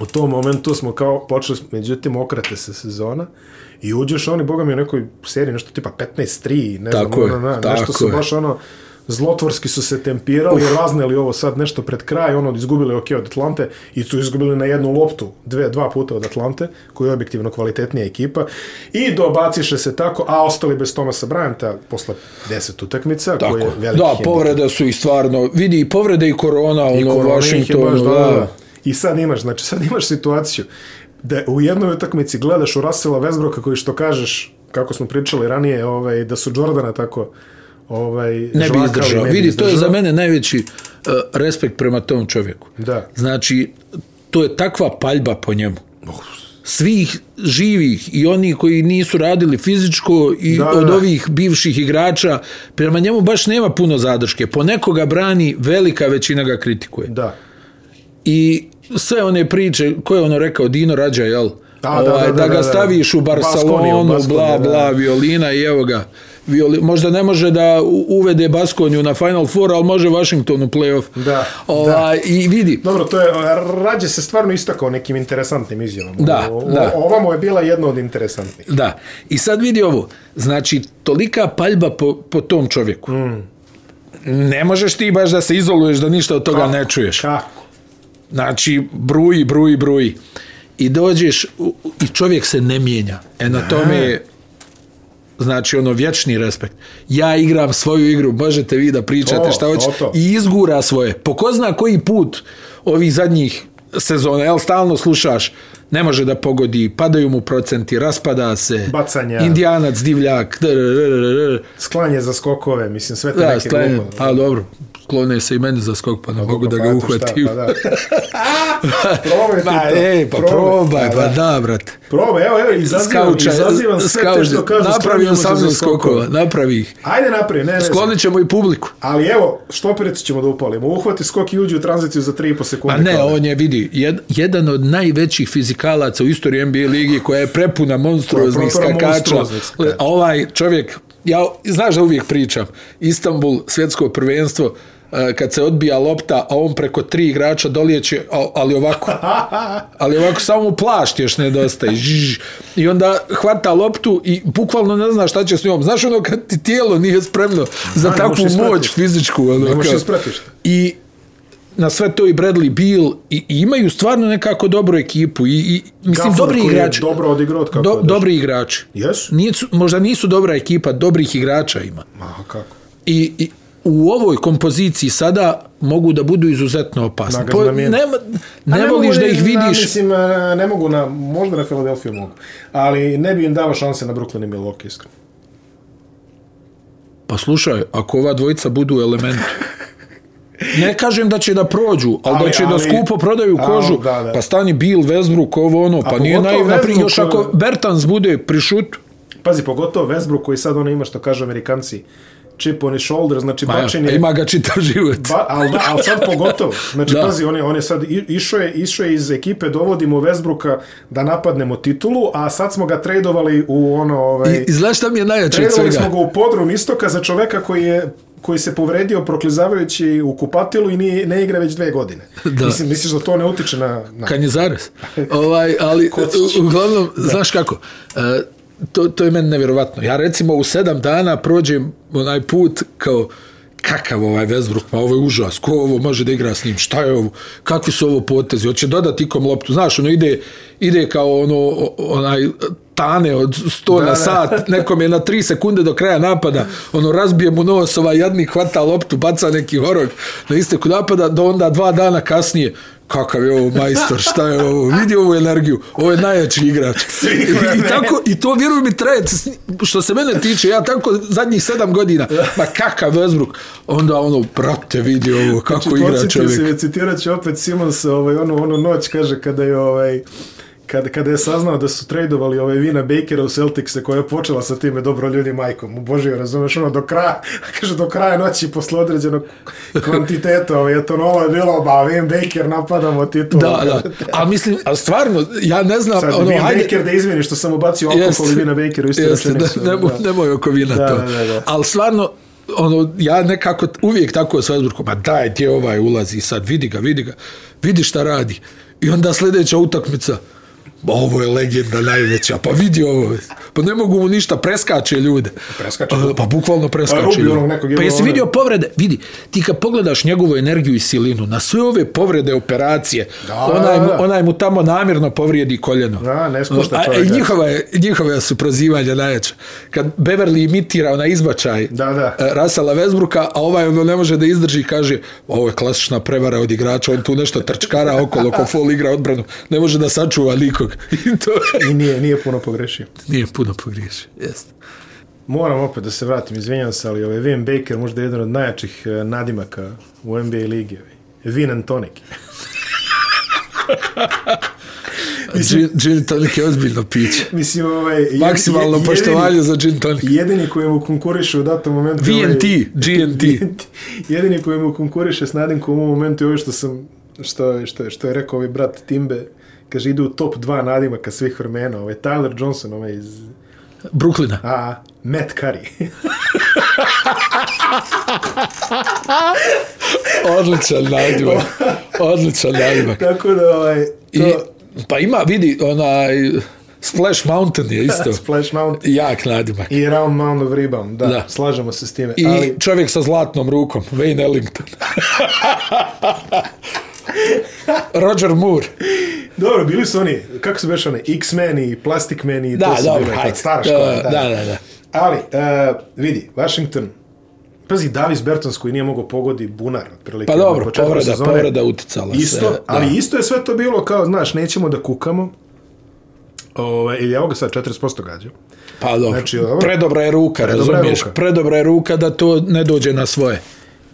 A: U tom momentu smo kao počeli, smo- međutim, okrate se sezona i uđeš oni, boga mi, u nekoj seriji, nešto tipa 15-3, ne
B: Tako
A: znam,
B: je,
A: ono, na, nešto
B: tako
A: su
B: je.
A: baš ono, zlotvorski su se tempirali, Uf. razneli ovo sad nešto pred kraj, ono, izgubili ok od Atlante i su izgubili na jednu loptu, dve, dva puta od Atlante, koja je objektivno kvalitetnija ekipa, i dobaciše se tako, a ostali bez Tomasa Bryanta posle 10 utakmica, tako. koji je veliki
B: Da,
A: hendikep.
B: povrede su i stvarno, vidi i povrede i korona, ono,
A: Korona
B: korona
A: ih je
B: Washingtonu,
A: baš
B: da.
A: dovela. I sad imaš, znači sad imaš situaciju da u jednoj utakmici gledaš u Rasela Westbrooka koji što kažeš, kako smo pričali ranije, ovaj, da su Jordana tako ovaj,
B: Ne bi
A: žvakali,
B: izdržao.
A: ne bi
B: Vidi, to je
A: izdržao.
B: za mene najveći uh, respekt prema tom čovjeku.
A: Da.
B: Znači, to je takva paljba po njemu.
A: Oh.
B: Svih živih i oni koji nisu radili fizičko i
A: Da,
B: da,
A: da,
B: od
A: da.
B: ovih bivših igrača, prema njemu baš nema puno zadrške. Poneko ga brani, velika većina ga kritikuje.
A: Da.
B: i sve one priče, ko je ono rekao, Dino Rađa, jel? Ovaj,
A: Da, da, da, da,
B: da,
A: da, da.
B: ga staviš u
A: Baskoniju,
B: Barcelonu,
A: Baskoniju, da.
B: bla, bla, violina i evo ga. Violi, možda ne može da u- uvede Baskonju na Final Four, ali može Washington u playoff.
A: Da,
B: Ova, I vidi,
A: Dobro, to je, Rađe se stvarno istakao nekim interesantnim izjavama.
B: Da,
A: o,
B: da.
A: O, ova mu je bila jedna od interesantnih.
B: da. I sad vidi ovo. Znači, tolika paljba po, po tom čovjeku. Mm. Ne možeš ti baš da se izoluješ, da ništa od toga ne čuješ.
A: Kako?
B: Znači, bruji, bruji, bruji. I dođeš u- u- i čovjek se ne mijenja. E na tome je znači ono vječni respekt. Ja igram svoju igru, možete vi da pričate
A: To,
B: šta hoćete
A: to, to.
B: i izgura svoje. Po ko zna koji put ovih zadnjih sezona, jel stalno slušaš, ne može da pogodi, padaju mu procenti, raspada se,
A: Bacanja.
B: indijanac, divljak, dr, dr, dr, dr.
A: Sklanje za skokove, mislim, sve te
B: Da,
A: neke
B: sklene,
A: glupo.
B: pa dobro, sklone se i meni za skok, pa ne mogu da ga
A: Pa, eto šta,
B: uhvatim.
A: Pa, da.
B: <laughs>
A: probaj ti
B: Ma,
A: to.
B: ej, pa probaj,
A: Pa,
B: pa
A: da.
B: da, brate.
A: Probaj, evo, evo, izazivam,
B: Skauča,
A: izazivam sve te što kažu.
B: napravi
A: sklanjamo se za
B: 18
A: skokove.
B: skokova, napravi ih.
A: Ajde napravi, ne, ne. znam.
B: Sklonit ćemo i publiku.
A: Ali evo, štopericu ćemo da upalimo. Uhvati skok i uđi u tranziciju za 3,5 sekunde.
B: A ne,
A: kao da.
B: on je, vidi, jed, jedan od najvećih fizikalaca u istoriji NBA ligi koja je prepuna monstruoznih
A: Koja je prepuna
B: skakača.
A: monstruoznih skakača.
B: A ovaj čovjek ja, znaš da uvijek pričam, Istanbul, svjetsko prvenstvo, e, kad se odbija lopta, a on preko tri igrača dolijeće, a-
A: <laughs>
B: ali ovako, ali ovako samo mu plašt još nedostaje. Žž. I onda hvata loptu i bukvalno ne zna šta će s njom. Znaš ono kad ti tijelo nije spremno za
A: ne
B: takvu
A: možeš ispratiti.
B: moć fizičku. Ono,
A: Ne možeš
B: kao.
A: ispratiti.
B: I na sve to i Bradley Beal i, i imaju stvarno nekako dobru ekipu i, i mislim
A: Gafford
B: dobri
A: koji je
B: igrači.
A: dobro odigrao od kako je
B: Do,
A: došao.
B: dobri igrači.
A: Jesu?
B: Nisu, možda nisu dobra ekipa, dobrih igrača ima.
A: Aha, kako?
B: I, i u ovoj kompoziciji sada mogu da budu izuzetno opasni.
A: Nagas
B: Po,
A: na mjenu.
B: ne,
A: A
B: ne
A: Pa mogu
B: voliš da
A: ni
B: ih
A: Na,
B: vidiš.
A: mislim, e, ne mogu na, možda na Filadelfiju mogu, ali ne bi im dao šanse na Brooklyn i Milwaukee, iskreno.
B: Pa slušaj, ako ova dvojica budu u elementu, ne kažem da će da prođu, ali,
A: Ali-
B: da će da
A: ali-
B: skupo prodaju
A: A,
B: kožu,
A: da, da.
B: pa stani Bill, Westbrook, ovo ono, pa nije
A: pogotovo
B: naivna pri...
A: Westbrook,
B: Još ako
A: ono-
B: Bertans bude pri šutu,
A: Pazi, pogotovo Westbrook koji sad ono ima što kažu amerikanci, chip on his shoulder, znači
B: pa,
A: bačen je...
B: ima ga čitav život.
A: Ba, ali, Pa, da, ali sad pogotovo. Znači,
B: Da.
A: da. pazi, on je, on je sad i- išao je, išao je iz ekipe, dovodimo Westbrooka da napadnemo titulu, a sad smo ga tradovali u ono... Ovaj,
B: I, I znaš šta mi je najjače od
A: Tradovali smo
B: svega?
A: ga u podrum istoka za čoveka koji je koji se povredio proklizavajući u kupatilu i nije, ne igra već dve godine.
B: Da.
A: Mislim, misliš da to ne utiče na... na.
B: Kad je zarez. Ovaj, ali,
A: Kocić.
B: u- uglavnom, znaš kako, e, to, to je meni nevjerovatno. Ja recimo u sedam dana prođem onaj put kao kakav ovaj Westbrook, pa ovo je užas, ko ovo može da igra s njim, šta je ovo, kakvi su ovo potezi, hoće dodati ikom loptu, znaš, ono ide, ide kao ono, o- onaj tane od 100 na
A: da.
B: sat, nekom je na 3 sekunde do kraja napada, ono razbije mu nos, ovaj jadnik hvata loptu, baca neki horog na isteku napada, do onda dva dana kasnije, kakav je ovo majstor, šta je ovo, vidi ovu energiju, ovo je najjači igrač. I, i, tako, I to vjeruj mi traje, s- što se mene tiče, ja tako zadnjih sedam godina, ma kakav Westbrook, onda ono, brate, vidi ovo, kako igra
A: Znači, Podsjetio
B: čovjek.
A: se, me, citirat ću opet Simons, ovaj, ono, ono noć, kaže, kada je ovaj, kada, kada je saznao da su tradovali ovaj Vina Bakera u Celticse koja je počela sa time dobro ljudi majkom, u Božio, razumeš, ono do kraja, <laughs> kaže do kraja noći posle određenog kvantiteta, ovaj, etanola je bilo, ba, Vin Baker napadamo titulu.
B: Da, da. A mislim, a stvarno, ja ne znam,
A: Sad,
B: ono,
A: Vin
B: hajde,
A: Baker da izvini što sam ubacio alkohol i Vina Baker u istu
B: jeste, da,
A: rečenicu.
B: nemoj,
A: Da.
B: nemoj oko vina
A: Da,
B: to.
A: da, da, da.
B: Ali stvarno, ono, ja nekako t- uvijek tako s Vesburkom, ma daj ti ovaj ulazi sad, vidi ga, vidi ga, vidi šta radi. I onda sljedeća utakmica, Ma ovo je legenda najveća, pa vidi ovo. Pa ne mogu mu ništa, preskače ljude.
A: Preskače.
B: E, Pa bukvalno preskače
A: rubi
B: ljude.
A: onog nekog, jel,
B: Pa jesi
A: one-
B: vidio povrede? Vidi, ti kad pogledaš njegovu energiju i silinu, na sve ove povrede, operacije,
A: Da,
B: onaj,
A: da,
B: mu-
A: da.
B: onaj mu tamo namjerno povrijedi koljeno.
A: Da, ne spušta
B: A- a
A: čovjek,
B: i
A: da.
B: njihova, je, njihova su prozivanja najjača. Kad Beverly imitira na izbačaj
A: Da, da.
B: e, Rasala Vesbruka, a ovaj ono ne može da izdrži, kaže, ovo je klasična prevara od igrača, on tu nešto trčkara okolo, ko fol igra odbranu, ne može da sačuva nikog. <laughs> I to
A: I nije, nije puno pogrešio.
B: nije puno pogriješi. Jeste.
A: Moram opet da se vratim, izvinjam se, ali ovaj Vin Baker možda je jedan od najjačih eh, nadimaka u NBA ligi. ovaj. Vin and tonic. <laughs>
B: Gin, gin tonic je ozbiljno piće.
A: Mislim, ovaj... jed-
B: Maksimalno
A: je-
B: poštovanje za gin tonic.
A: Jedini, jedini koji mu konkuriše u datom momentu... je ovaj-
B: VNT,
A: <laughs>
B: GNT.
A: jedini koji mu konkuriše s nadimkom u ovom momentu je ovo što sam... Što, je- što, je- što je rekao ovaj brat Timbe. Kaže, ide u top 2 nadimaka svih vremena. Ovaj Tyler Johnson, ovaj iz...
B: Bruklina.
A: A, Matt Curry. <laughs>
B: Odličan
A: <laughs>
B: nadimak. Odličan nadimak.
A: Tako da, ovaj...
B: I,
A: To,
B: pa ima, vidi, onaj Splash Mountain je
A: <laughs>
B: isto.
A: Splash Mountain.
B: Jak nadimak.
A: I round mound of rebound, da,
B: Da.
A: da. slažemo se s time.
B: I
A: Ali,
B: čovjek sa zlatnom rukom, Wayne
A: <laughs>
B: Ellington. Roger Moore.
A: dobro, bili su oni, kako su beš oni, X-Men i Plastic Man i
B: Da,
A: to su
B: dobro,
A: bile,
B: hajde.
A: ta stara
B: Da,
A: škola.
B: da, da, da.
A: Ali, uh, vidi, Washington, pazi, Davis Bertans koji nije mogao pogodi bunar, otprilike.
B: Pa
A: na
B: dobro,
A: početku
B: povreda,
A: sezone.
B: povreda uticala se.
A: Isto, ali isto je sve to bilo kao, znaš, nećemo da kukamo. Ove, ili evo ga sad 40% gađao.
B: Pa dobro,
A: Znači, ovo-
B: predobra je ruka,
A: Predobra je
B: razumiješ?
A: ruka.
B: Predobra je ruka da to ne dođe na svoje.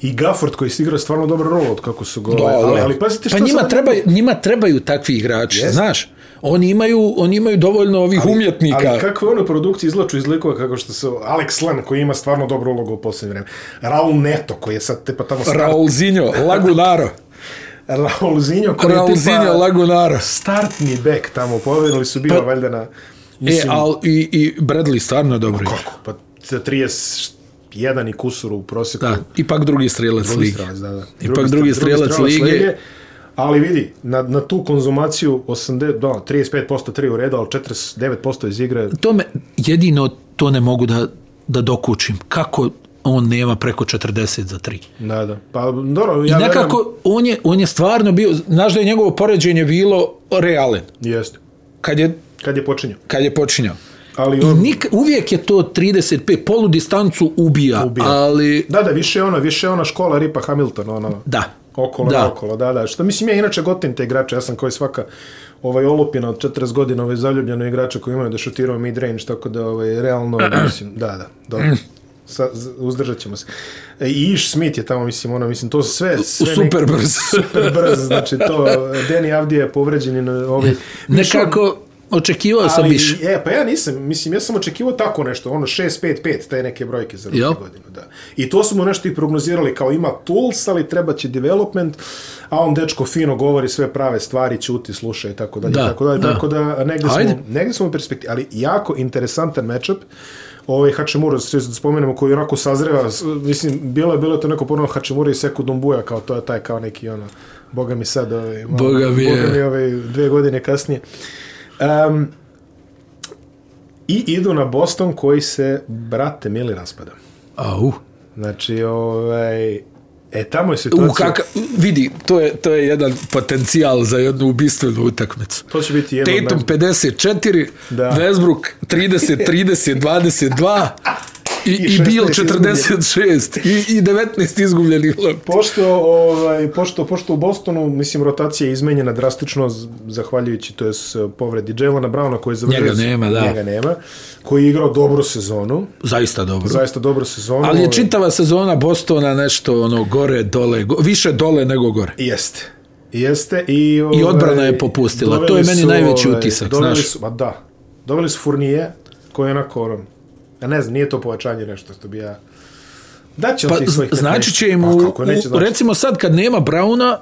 A: I Gafford koji se igra stvarno dobro rolo od kako su gole.
B: Da, da.
A: ali, ali pazite što
B: pa njima,
A: sad-
B: trebaju, njima trebaju takvi igrači,
A: Jest.
B: znaš? Oni imaju, oni imaju dovoljno ovih umjetnika.
A: Ali kako je ono produkcije izlaču iz likova kako što se Alex Len koji ima stvarno dobru ulogu u posljednje vreme. Raul Neto koji je sad tipa tamo star... Raul,
B: Raulzinho, Lagunaro.
A: Raul Zinjo koji je tipa
B: Raulzinho, Lagunaro. E,
A: startni bek tamo. Poverili su bila valjda na...
B: Pa- E,
A: Mislim,
B: al, i, i Bradley stvarno dobro igra.
A: kako? Pa 31 i kusur u proseku.
B: Da, ipak drugi strelac
A: Drugi
B: lige.
A: strelac, da, da.
B: Ipak drugi strelac, lige.
A: Ali vidi, na, na tu konzumaciju 80, do, 35% 3 u redu, ali 49% iz igre.
B: To me, jedino to ne mogu da, da dokučim. Kako on nema preko 40 za 3?
A: Da, da. Pa, dobro,
B: I
A: ja
B: nekako, on je, on je stvarno bio, znaš da je njegovo poređenje bilo realen.
A: verujem. Jeste.
B: Kad je,
A: Kad je počinjao.
B: kad je počinjao.
A: Ali
B: I
A: on,
B: nik, uvijek je to 35, polu distancu ubija,
A: Ubija.
B: ubija. ali
A: Da, da, više je ona, više je ona škola Ripa Hamilton, ona.
B: da.
A: Okolo, da.
B: Da.
A: okolo, da, da. Što mislim, ja inače gotim te igrače, ja sam koji svaka ovaj olupina od 40 godina, ovaj zaljubljeno igrača koji imaju da šutirao midrange, tako da ovaj, realno, mislim, da, da, dobro. Sa, z- uzdržat ćemo se. E, I Iš Smith je tamo, mislim, ono, mislim, to sve... sve
B: super brz.
A: super brz, znači to, Deni Avdija je povređen i na ovaj...
B: Nekako, očekivao sam više.
A: Ali, e, pa ja nisam, mislim, ja sam očekivao tako nešto, ono 6-5-5, te neke brojke za
B: Jel?
A: ruku godinu, da. I to smo nešto i prognozirali, kao ima tools, ali treba će development, a on dečko fino govori sve prave stvari, ćuti, sluša i tako dalje, da,
B: Da,
A: tako dalje, da.
B: da.
A: tako da negde
B: Ajde.
A: smo, negde smo u perspektivi, ali jako interesantan matchup, ovaj Hačemura, sve da spomenemo, koji onako sazreva, s- mislim, bilo je, bilo je to neko ponovno Hačemura i Seku Dumbuja, kao to je taj, kao neki, ono, boga mi sad, ovaj, malo-
B: Boga mi je.
A: boga mi ovaj, dve godine kasnije. Um, I idu na Boston koji se, brate, mili raspada.
B: Au.
A: Znači, ovaj, e, tamo je situacija...
B: U, kaka, vidi, to je, to je jedan potencijal za jednu ubistvenu utakmicu.
A: To će biti jedno...
B: Tatum 54,
A: Da.
B: da. Westbrook 30, <laughs> 30, 22 i,
A: I
B: i, i Bill
A: 16
B: 46 i, i 19 izgubljenih lopti.
A: Pošto, ovaj, pošto, pošto u Bostonu, mislim, rotacija je izmenjena drastično z- zahvaljujući, to je s povredi Jelena Browna koji je završio...
B: Njega nema, da.
A: Njega nema, koji je igrao dobru sezonu,
B: Zaista dobro.
A: zaista dobru sezonu.
B: Ali je
A: ovaj,
B: čitava sezona Bostona nešto ono gore, dole, go, više dole nego gore.
A: Jeste. Jeste i... Ovaj,
B: I odbrana je popustila.
A: doveli
B: To je meni
A: su, ovaj,
B: najveći utisak,
A: doveli
B: znaš.
A: Su, ma da. Doveli su Furnije, koji je onako... ono, Ja ne znam, nije to povećanje nešto što bi ja... Da će on
B: Pa
A: tih svojih
B: z- znači
A: 15.
B: će im,
A: Pa
B: u,
A: kako neće,
B: u,
A: znači,
B: recimo sad kad nema Brauna,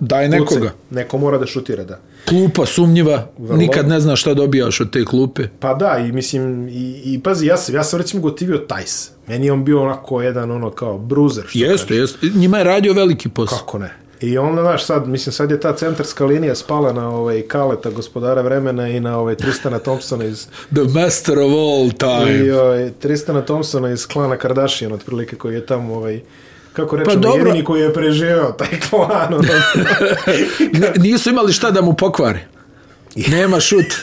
B: daj
A: pucaj.
B: nekoga.
A: Neko mora da šutira, da.
B: Klupa sumnjiva,
A: Vrlo.
B: nikad ne znaš šta dobijaš od te klupe.
A: Pa da, i mislim, i, i pazi, ja sam, ja sam recimo gotivio Tajs. Meni je on bio onako jedan, ono, kao bruzer. Što
B: Jeste, jeste. Njima je radio veliki posao.
A: Kako ne? I onda, znaš, sad, mislim, sad je ta centarska linija spala na ovaj Kaleta, gospodara vremena i na ovaj Tristana Thompsona iz
B: The master of all
A: I
B: time.
A: ovaj, Tristana Thompsona iz klana Kardashian, otprilike, koji je tamo, ovaj, kako rečemo, pa,
B: dobro.
A: jedini koji je preživeo taj klan. Ono,
B: <laughs> Ne- Nisu imali šta da mu pokvare. Nema šut.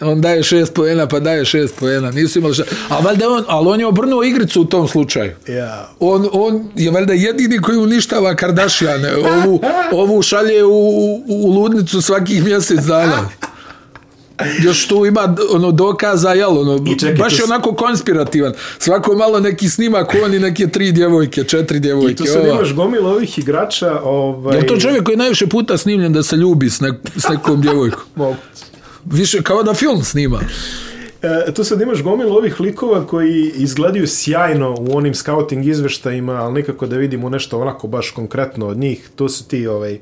B: On daje šest pojena, pa daje šest pojena. Nisu imali šta. A valjda je on, ali on je obrnuo igricu u tom slučaju.
A: ja,
B: On, on je valjda jedini koji uništava Kardashiane. Ovu, ovu šalje u, u, u ludnicu svakih mjesec dana. Još tu ima ono dokaza, jel, ono,
A: I čekaj,
B: baš
A: to
B: je
A: s-
B: onako konspirativan. Svako malo neki snimak, on i neke tri djevojke, četiri
A: I
B: djevojke.
A: tu sad
B: ova.
A: imaš gomil ovih igrača, ovaj...
B: Je li to čovjek koji je najviše puta snimljen da se ljubi s, nek, s nekom djevojkom?
A: moguće.
B: Više kao da film snima.
A: E, tu sad imaš gomilu ovih likova koji izgledaju sjajno u onim scouting izveštajima, ali nikako da vidimo nešto onako baš konkretno od njih. Tu su ti ovaj,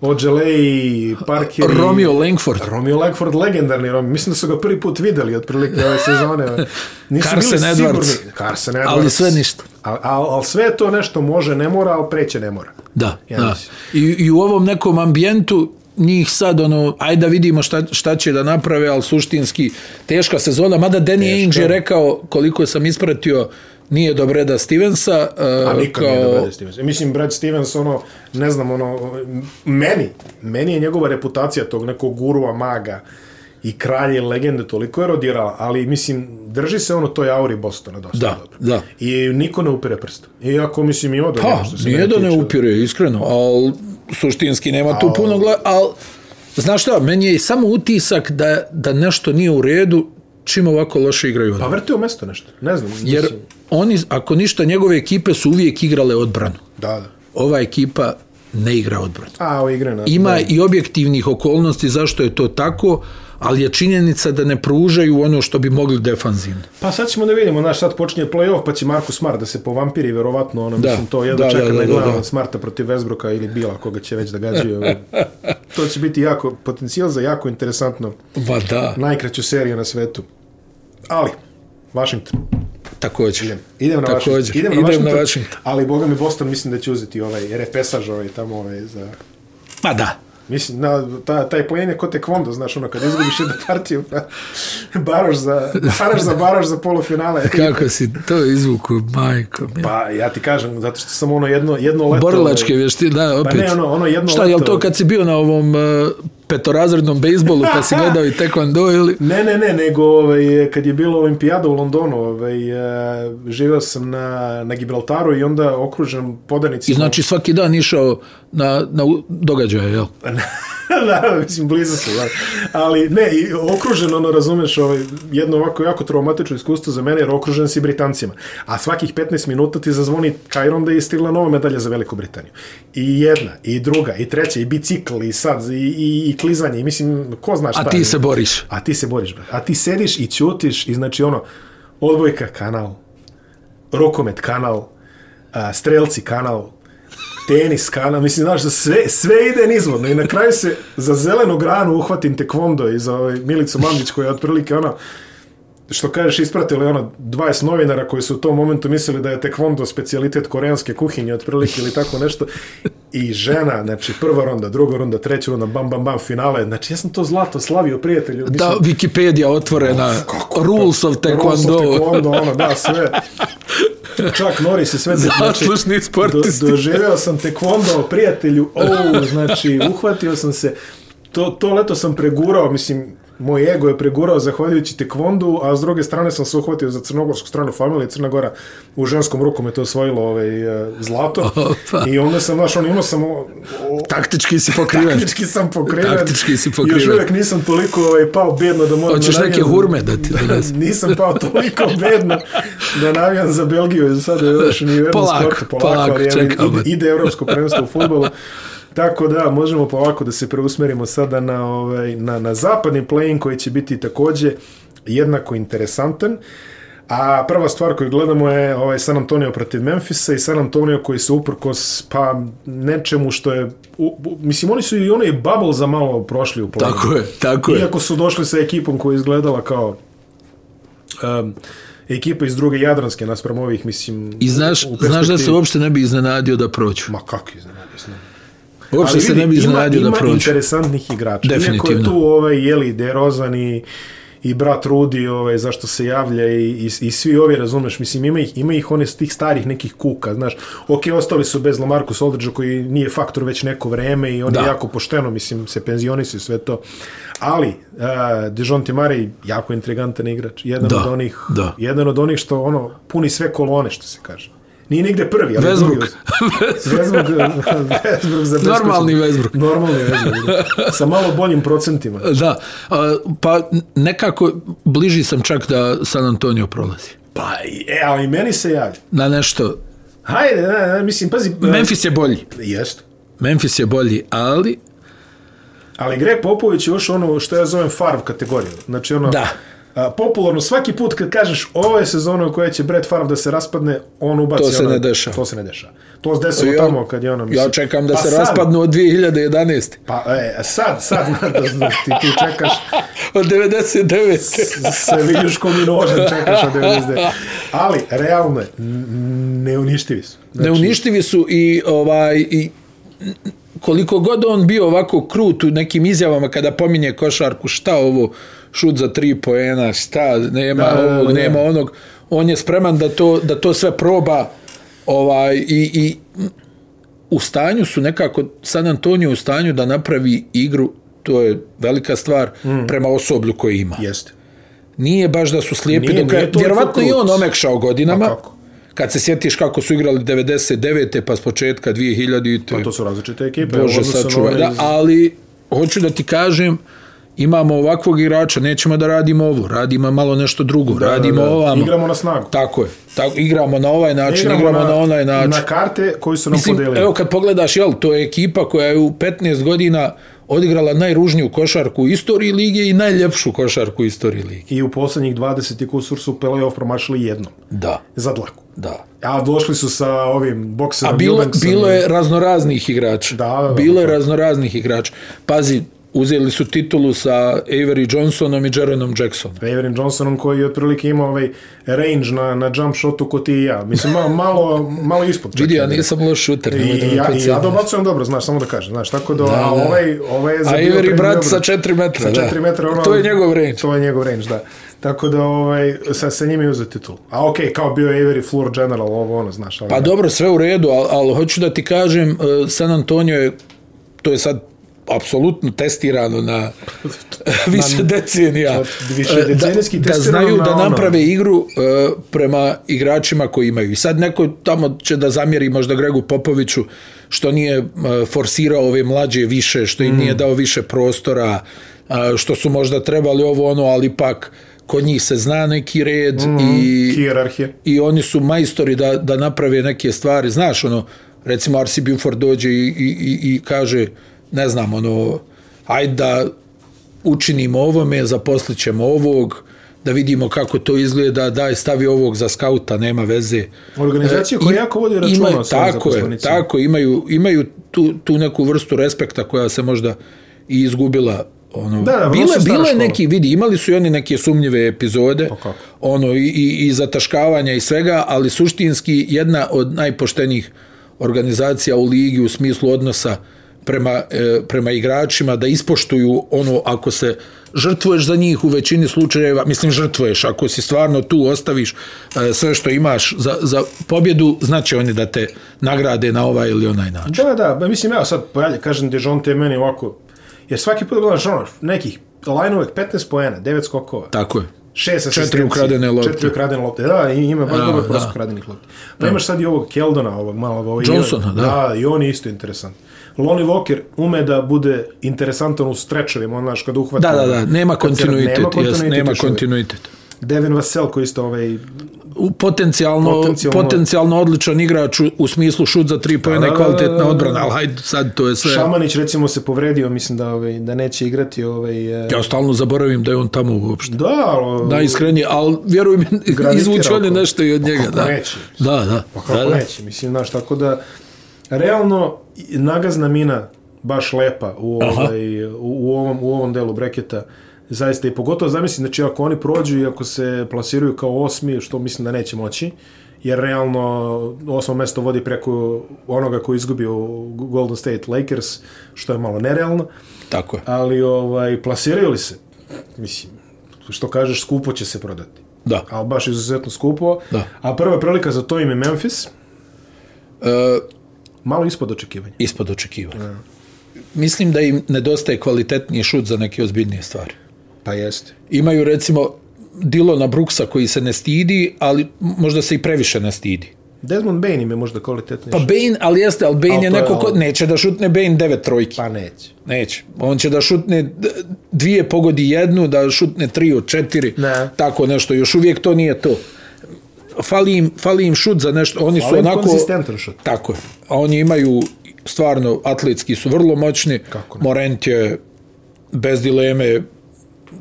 A: Ođeleji, Parkeri...
B: Romeo Langford.
A: Romeo Langford, legendarni Romeo. Mislim da su ga prvi put videli otprilike ove sezone. Nisu
B: Carson
A: bili
B: Edwards.
A: sigurni. Carson Edwards.
B: Ali sve ništa.
A: Al, al, al sve je to nešto može, ne mora, ali preće ne mora.
B: Da,
A: Ja
B: da.
A: mislim.
B: I, I u ovom nekom ambijentu njih sad, ono, ajde da vidimo šta, šta će da naprave, ali suštinski teška sezona, mada Danny Ainge je rekao, koliko sam ispratio, nije do Breda Stevensa,
A: A
B: uh,
A: nikad nije do Brad Stevens. Mislim, Brad Stevens, ono, ne znam, ono, meni, meni je njegova reputacija tog nekog gurua, maga i kralje i legende toliko je rodirala, ali mislim, drži se ono toj auri Bostona dosta
B: Da,
A: dobro.
B: da.
A: I niko ne upire prstom. Iako, mislim, ima do njega
B: Pa,
A: što se
B: nije
A: mene
B: da ne
A: tiče.
B: upire, iskreno, ali suštinski nema tu puno gleda, ali znaš šta, meni je samo utisak da, da nešto nije u redu čim ovako loše igraju
A: Pa
B: odbranu.
A: vrti u mesto nešto, ne znam.
B: Jer
A: Mislim,
B: oni, ako ništa, njegove ekipe su uvijek igrale odbranu.
A: da, da.
B: Ova ekipa ne igra odbranu.
A: A, ovo igre na...
B: Ima i objektivnih okolnosti zašto je to tako, ali je činjenica da ne pružaju ono što bi mogli defanzivno.
A: Pa sad ćemo da vidimo, znaš, sad počinje play-off, pa će Marko Smart da se povampiri, verovatno, ono, da.
B: Da.
A: mislim, to jedno da,
B: Da,
A: čeka da, da,
B: da, da,
A: gledamo
B: da.
A: Smarta protiv Westbrooka ili Bila, koga će već da
B: <laughs>
A: gađaju. ovaj. to će biti jako, potencijal za jako interesantno,
B: Va da.
A: najkraću seriju na svetu. Ali, Washington.
B: Također.
A: Idem, idem na
B: Također.
A: Washington. Idem,
B: Idem na
A: na, Washington,
B: Washington.
A: Ali, boga mi, Boston mislim da će uzeti ovaj repesaž ovaj tamo ovaj za...
B: Ma da.
A: Mislim, na, ta, taj plen je kod tekvondo, znaš, ono, kad izgubiš jednu partiju, pa, baroš za, baraš za baroš za polufinale.
B: Kako si to izvuku, majko mi.
A: Pa, ja ti kažem, zato što sam ono jedno, jedno leto...
B: Pa
A: ovaj,
B: Borilačke vještine, da, opet.
A: ne, ono- ono jedno
B: Šta, je li
A: leto-
B: to kad si bio na ovom uh, petorazrednom bejsbolu pa <laughs> si gledao i tekvando ili...
A: Ne, ne, ne, nego ovaj, kad je bila olimpijada u Londonu, ovaj, eh, živeo sam na, na Gibraltaru i onda okružen podanicima.
B: I znači svaki dan išao na, na u- događaje, jel?
A: <laughs> da, mislim, blizu su. Da. Ali ne, i okružen, ono, razumeš, ovaj, jedno ovako jako traumatično iskustvo za mene, jer okružen si Britancima. A svakih 15 minuta ti zazvoni Kajron da je stigla nova medalja za Veliku Britaniju. I jedna, i druga, i treća, i bicikl, i sad, i, i, i klizanje, i mislim, ko zna šta.
B: A ti se boriš.
A: A ti se boriš, brate. A ti sediš i ćutiš i znači ono, odbojka kanal, rokomet kanal, a, strelci kanal, tenis kanal, mislim, znaš, da sve, sve ide nizvodno i na kraju se za zelenu granu uhvatim tekvondo i za ovaj Milicu Mandić koja je otprilike ono, što kažeš, ispratili ono 20 novinara koji su u tom momentu mislili da je tekvondo specijalitet koreanske kuhinje otprilike ili tako nešto. I žena, znači prva ronda, druga ronda, treća ronda, bam, bam, bam, finale. Znači ja sam to zlato slavio, prijatelju. Mislim,
B: Da, Wikipedia otvorena, pa? rules of
A: Rules of
B: taekwondo.
A: taekwondo, ono, da, sve. Čak Norris i sve. znači,
B: Zaslušni sportisti.
A: Do, doživeo sam tekvondo, prijatelju, ou, znači, uhvatio sam se. To, to leto sam pregurao, mislim, moj ego je pregurao zahvaljujući tekvondu, a s druge strane sam se uhvatio za crnogorsku stranu familije, Crna Gora u ženskom rukom je to osvojilo ovaj, e, zlato.
B: Opa.
A: I onda sam, znaš, on imao sam o, o,
B: Taktički si pokriven.
A: taktički sam pokriven.
B: Taktički si
A: Još
B: pokriven.
A: uvijek nisam toliko ovaj, pao bedno da moram...
B: Hoćeš
A: da
B: neke
A: navijam-
B: hurme da ti donesu.
A: <laughs> Nisam pao toliko bedno da navijam za Belgiju i sada još ni u jednom
B: Polako,
A: sportu
B: polako,
A: ali, evo,
B: čekamo.
A: ide, ide evropsko prvenstvo u futbolu. Tako da, možemo polako da se preusmerimo sada na, ovaj, na, na zapadni play-in koji će biti takođe jednako interesantan. A prva stvar koju gledamo je ovaj San Antonio protiv Memfisa i San Antonio koji se uprkos pa nečemu što je... U, u, mislim, oni su i onaj bubble za malo prošli u play
B: Tako je, tako je.
A: Iako su došli sa ekipom koja je izgledala kao um, ekipa iz druge Jadranske naspram ovih, mislim...
B: I znaš,
A: u
B: znaš da se
A: perspektivi-
B: uopšte ne bi iznenadio da prođu.
A: Ma kako iznenadio sam.
B: Uopšte se ne bi iznenadio da
A: ima
B: prođu.
A: interesantnih igrača. Iako je
B: Definitivno.
A: tu ovaj, jeli, Derozan i, i brat Rudi, ovaj, zašto se javlja i, i, i svi ovi, razumeš, mislim, ima ih, ima ih one s tih starih nekih kuka, znaš. Ok, ostali su bez Lamarku Soldridge koji nije faktor već neko vreme i on
B: Da.
A: je jako pošteno, mislim, se penzionisu i sve to. Ali, uh, Dijon Timari, jako intrigantan igrač. Jedan
B: Da,
A: od onih,
B: da.
A: jedan od onih što, ono, puni sve kolone, što se kaže. Nije nigde prvi, ali
B: Westbrook.
A: drugi od-
B: <laughs>
A: Westbrook, Westbrook za beskućnika.
B: Normalni Westbrook.
A: Normalni Westbrook. da. Sa malo boljim procentima.
B: Da, a, pa nekako bliži sam čak da San Antonio prolazi.
A: Pa, i- e, ali meni se javlja.
B: Na nešto.
A: Hajde, da, da, mislim, pazi... e,
B: Memphis je bolji.
A: Jest.
B: Memphis je bolji, ali
A: Ali Greg Popović je još ono što ja zovem farv kategoriju. Znači ono...
B: Da.
A: A, popularno, svaki put kad kažeš ovo je sezona u kojoj će Brett Favre da se raspadne, on ubaci...
B: To se
A: ono-
B: ne dešava.
A: To se ne dešava. To se desilo
B: Ja-
A: tamo kad je ono...
B: ja čekam da
A: pa
B: se
A: sad-
B: raspadnu od 2011.
A: Pa e, sad, sad, <laughs> da, ti, ti čekaš
B: Od 99.
A: se vidiš ko mi nožem čekaš od 99. Ali, realno je, n- neuništivi su.
B: Neuništivi su i ovaj i koliko god on bio ovako krut u nekim izjavama kada pominje košarku, šta ovo šut za tri poena, šta, nema
A: Da, da, da,
B: ovog,
A: da.
B: nema onog, on je spreman da to, da to sve proba ovaj i, i u stanju su nekako San Antonio je u stanju da napravi igru to je velika stvar mm. prema osoblju koje ima.
A: Jeste.
B: Nije baš da su slijepi
A: Nije,
B: nije, do kraja.
A: nije toliko
B: Vjerovatno i
A: krut.
B: on omekšao
A: Pa
B: godinama.
A: kako?
B: Kad se sjetiš kako su igrali 99. pa s početka 2000.
A: Pa
B: Pa
A: to su različite ekipe.
B: Bože
A: odnosno na
B: sačuvaj.
A: one
B: Da,
A: iz-
B: ali hoću da ti kažem imamo ovakvog igrača, nećemo da radimo ovo, radimo malo nešto drugo, da, radimo
A: da, da.
B: ovamo.
A: Igramo na snagu.
B: Tako je. Tako, igramo na ovaj način, igramo, igramo na, na onaj način.
A: Na karte koji su nam Mislim,
B: Mislim,
A: podelili.
B: evo kad pogledaš, jel, to je ekipa koja je u 15 godina odigrala najružniju košarku u istoriji lige i najljepšu košarku u istoriji lige.
A: I u poslednjih 20 i kusur su playoff promašili jednom.
B: Da,
A: Za dlaku.
B: da.
A: A došli su sa ovim bokserom
B: A bilo,
A: Eubanksom
B: bilo
A: i-
B: je raznoraznih igrača.
A: Da, da, da.
B: bilo je raznoraznih igrača. Pazi, uzeli su titulu sa Avery Johnsonom i Jeronom Jacksonom.
A: Averin Johnsonom koji je otprilike imao ovaj range na, na jump shotu ko ti i ja. Mislim, malo, malo, malo ispod. čak
B: Vidi, ja
A: i da-
B: nisam loš šuter. nemoj
A: I,
B: da me
A: i, ja, i ja
B: podsjetiš.
A: dobacujem dobro, znaš, samo da kažem. Znaš, tako da, a
B: da.
A: ovaj, ovaj je
B: A
A: zabio...
B: Avery
A: prvi
B: brat
A: obrat.
B: sa 4 metra.
A: Sa 4
B: da.
A: metra, ono,
B: To je njegov range.
A: To je njegov range, da. Tako da, ovaj, sa, sa njim je uzet titul. A okej, okay, kao bio je Avery Floor General, ovo ono, znaš. Ali,
B: Pa dobro, sve u redu, ali, ali hoću da ti kažem, eh, San Antonio je, to je sad apsolutno testirano
A: <laughs>
B: na više decenija.
A: više
B: Eh,
A: decenijski
B: da, da
A: testirano
B: znaju
A: na
B: da
A: ono.
B: naprave igru eh, prema igračima koji imaju. I sad neko tamo će da zamjeri možda Gregu Popoviću što nije eh, forsirao ove mlađe više, što im
A: Mm.
B: nije dao više prostora, eh, što su možda trebali ovo ono, ali ipak kod njih se zna neki red
A: Mm,
B: i
A: Hijerarhije.
B: i oni su majstori da, da naprave neke stvari. Znaš, ono, recimo RC Buford dođe i, i, i, i kaže, ne znam, ono, ajde da učinimo ovome, zaposlit ćemo ovog, da vidimo kako to izgleda, daj, stavi ovog za skauta, nema veze. E,
A: Organizacija koja jako vodi računa o svojim
B: tako je,
A: zaposlenicima.
B: tako, imaju, imaju tu, tu neku vrstu respekta koja se možda i izgubila ono,
A: Da, da, vrlo
B: bile,
A: su stara
B: bile
A: škola.
B: neki, vidi, imali su i oni neke sumnjive epizode,
A: Pa kako?
B: ono, i, i, i zataškavanja i svega, ali suštinski jedna od najpoštenijih organizacija u ligi u smislu odnosa prema, e, prema igračima, da ispoštuju ono ako se žrtvuješ za njih u većini slučajeva, mislim žrtvuješ, ako si stvarno tu ostaviš e, sve što imaš za, za pobjedu, znači oni da te nagrade na ovaj ili onaj način.
A: Da, da, ba, mislim, evo sad, pa dalje, kažem, Dejonte je meni ovako, jer svaki put gledaš ono, nekih, line uvek 15 poena, 9 skokova,
B: Tako je.
A: šest asistencija.
B: ukradene lopte.
A: Četiri ukradene lopte, da, i ima baš
B: Da,
A: dobar
B: da.
A: prosjek ukradenih lopte. Pa imaš sad i ovog Keldona, ovog malog. Ovog
B: Johnsona, da.
A: Da, i on je isto interesant. Lonnie Walker ume da bude interesantan u strečevima, on znaš, kad uhvata...
B: Da, da, da, nema
A: kad se-
B: kontinuitet, nema kontinuitet, jes, nema
A: još uvijek.
B: kontinuitet.
A: Devin Vassell koji isto ovaj...
B: U- potencijalno,
A: Potencijalno.
B: potencijalno, potencijalno odličan igrač u, u smislu šut za tri pojene
A: da,
B: i
A: da, da,
B: kvalitetna
A: da.
B: odbrana, ali hajde sad to je sve.
A: Šamanić recimo se povredio, mislim da ovaj, da neće igrati ovaj... eh,
B: Ja stalno zaboravim da je on tamo uopšte.
A: Da, ali...
B: Najiskrenije, ali
A: <laughs>
B: vjeruj mi, izvući on je
A: ako-
B: nešto i od njega.
A: Pa kako
B: Da,
A: neće?
B: da. da,
A: Pa
B: da,
A: kako
B: da.
A: neće, mislim, znaš, tako da, realno, nagazna mina baš lepa u,
B: Aha.
A: ovaj, u, u, ovom, u ovom delu breketa, zaista, i pogotovo zamislim, znači, ako oni prođu i ako se plasiraju kao osmi, što mislim da neće moći, jer realno osmo mesto vodi preko onoga koji izgubio Golden State Lakers, što je malo nerealno,
B: Tako je.
A: ali ovaj, plasiraju li se, mislim, što kažeš, skupo će se prodati.
B: Da.
A: Ali baš izuzetno skupo.
B: Da.
A: A prva prilika za to im je Memphis,
B: E,
A: malo ispod očekivanja.
B: ispod očekivanja. Mislim da im nedostaje kvalitetniji šut za neke ozbiljnije stvari.
A: Pa jeste.
B: Imaju recimo Dilona Brooksa koji se ne stidi, ali možda se i previše ne stidi.
A: Desmond Bain im je možda kvalitetniji.
B: Pa Bane, ali jeste, ali Bane
A: Al
B: je
A: to je ono-
B: neko ko...
A: on.
B: Neće da šutne Bane devet trojki.
A: pa neće.
B: Neće. On će da šutne d- dvije pogodi jednu, da šutne tri od četiri,
A: Ne.
B: tako nešto. Još uvijek to nije to. Fali im, fali im šut za nešto. Oni
A: Fali
B: su
A: im
B: onako...
A: konzistentan šut.
B: Tako je. A oni imaju, stvarno, atletski su vrlo moćni.
A: Kako ne?
B: Morent je bez dileme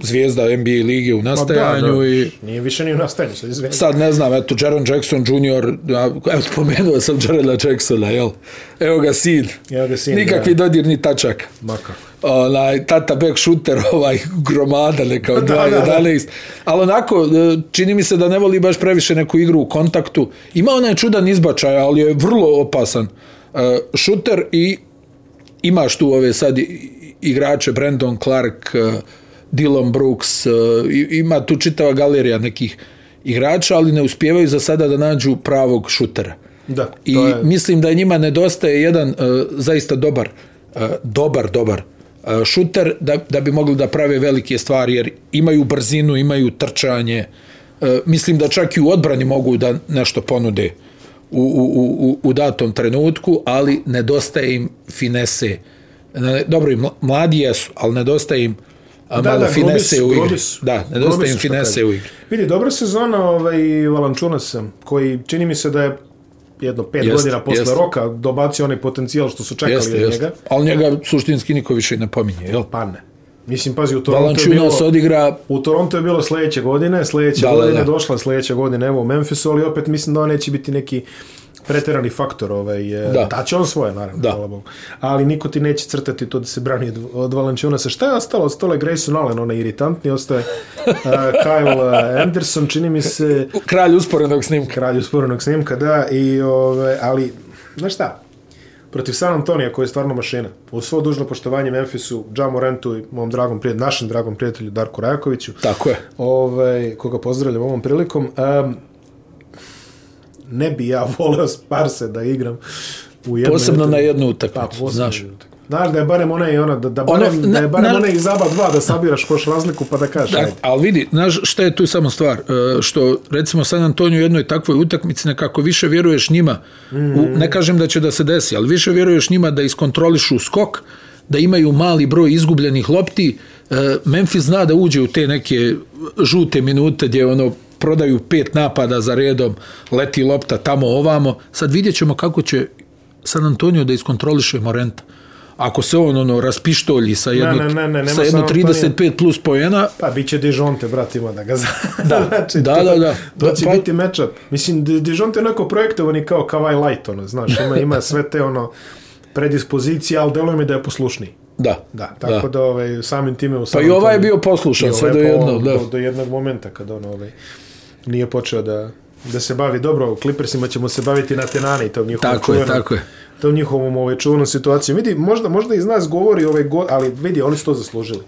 B: zvijezda NBA lige u
A: Pa
B: nastajanju i...
A: Nije više ni u nastajanju, sad izvini.
B: Sad ne znam, eto, Jaron Jackson Jr., a, evo, spomenuo sam Jarona Jacksona, jel? Evo ga sin.
A: Evo ga sin,
B: Nikakvi
A: da.
B: dodir ni tačak.
A: Ma kako.
B: Onaj, tata back shooter, <laughs> ovaj gromada neka od
A: Da, da, da.
B: 2.11. Ali onako, e, čini mi se da ne voli baš previše neku igru u kontaktu. Ima onaj čudan izbačaj, ali je vrlo opasan e, šuter i imaš tu ove sad i- i- igrače Brandon Clark, e, Dylan Brooks, e, i- ima tu čitava galerija nekih igrača, ali ne uspijevaju za sada da nađu pravog šutera.
A: Da,
B: I
A: to je-
B: mislim da njima nedostaje jedan e, zaista dobar, e, dobar, dobar e, šuter da, da bi mogli da prave velike stvari, jer imaju brzinu, imaju trčanje. E, mislim da čak i u odbrani mogu da nešto ponude u, u, u, u- u datom trenutku, ali nedostaje im finese. Ne- Dobro, i mla- mladi jesu, ali nedostaje im a, malo
A: grobi
B: finese
A: su,
B: u igri.
A: grobi su.
B: Da,
A: Grobi
B: nedostaje
A: su,
B: im
A: što kaže.
B: finese u igri.
A: Vidi, dobra sezona ovaj, Valančunasa, koji čini mi se da je jedno pet
B: Jeste,
A: godina posle
B: jeste.
A: roka dobacio onaj potencijal što su čekali
B: Jeste,
A: od
B: jeste.
A: njega.
B: Ali njega suštinski niko više i ne pominje, jel?
A: Pa ne. Mislim, pazi, u Toronto je bilo...
B: Valančunas odigra
A: U Toronto je bilo sljedeće godine, sljedeće
B: Da, da,
A: godine
B: da.
A: došla sljedeće godine, evo u Memphisu, ali opet mislim da on neće biti neki preterani faktor, ovaj, e,
B: Da.
A: da će on svoje, naravno,
B: Da.
A: hvala Bogu. Ali niko ti neće crtati to da se brani od, od Valančunasa. Šta je ostalo? Ostalo je Grayson Allen, onaj iritantni, ostaje uh, Kyle e, Anderson, čini mi se
B: Kralj usporenog snimka.
A: kralju sporenog snimka, da, i, ovaj, ali, znaš šta, protiv San Antonija, koji je stvarno mašina, u svo dužno poštovanje Memphisu, Džamu Rentu i mom dragom prijatelju, našem dragom prijatelju Darku Rajakoviću,
B: Tako je.
A: ovaj, koga pozdravljam ovom prilikom. Um, ne bi ja <laughs> voleo Sparse da igram u jednoj...
B: Posebno na
A: utakmici.
B: jednu
A: Pa,
B: utakmicu,
A: posebno
B: znaš.
A: na jednu utakmicu. Znaš da je barem onaj i ona, da, da,
B: Ono,
A: barem, ono, da je
B: na-
A: barem
B: na-
A: onaj iz Zaba 2 da sabiraš koš razliku pa da kažeš.
B: Da,
A: ajde.
B: ali vidi, znaš šta je tu samo stvar? E, Što, recimo, San Antonio u jednoj takvoj utakmici nekako više vjeruješ njima, u, ne kažem da će da se desi, ali više vjeruješ njima da iskontrolišu skok, da imaju mali broj izgubljenih lopti. E, Memphis zna da uđe u te neke žute minute gdje ono prodaju pet napada za redom, leti lopta tamo ovamo. Sad vidjet ćemo kako će San Antonio da iskontroliše Morenta. Ako se on ono raspištolji sa jedno,
A: ne, ne, ne, nema
B: sa jedno
A: San Antonio.
B: 35 plus poena,
A: Pa bit će Dijonte, brat, ima da ga za... Da, <laughs> znači,
B: da,
A: to,
B: da, da.
A: To će
B: Pa-
A: biti matchup. Mislim, Di- Dijonte je onako projektovan i kao Kawhi Light, ono, znaš, ima, ima sve te, ono, predispozicije, ali deluje mi da je poslušniji.
B: Da.
A: Da, tako da, da ovaj, samim time... u
B: Pa
A: San
B: i ovaj je
A: Antonio-
B: bio poslušan sve do jednog, da.
A: Do, do jednog momenta kada on ovaj, nije počeo da, da se bavi. Dobro, u Clippersima ćemo se baviti na tenani i tom njihovom
B: Tako je, tako je.
A: Tom njihovom ovaj, čuvenom situacijom. Vidi, možda, možda iz nas govori ovaj go, ali vidi, oni su to zaslužili.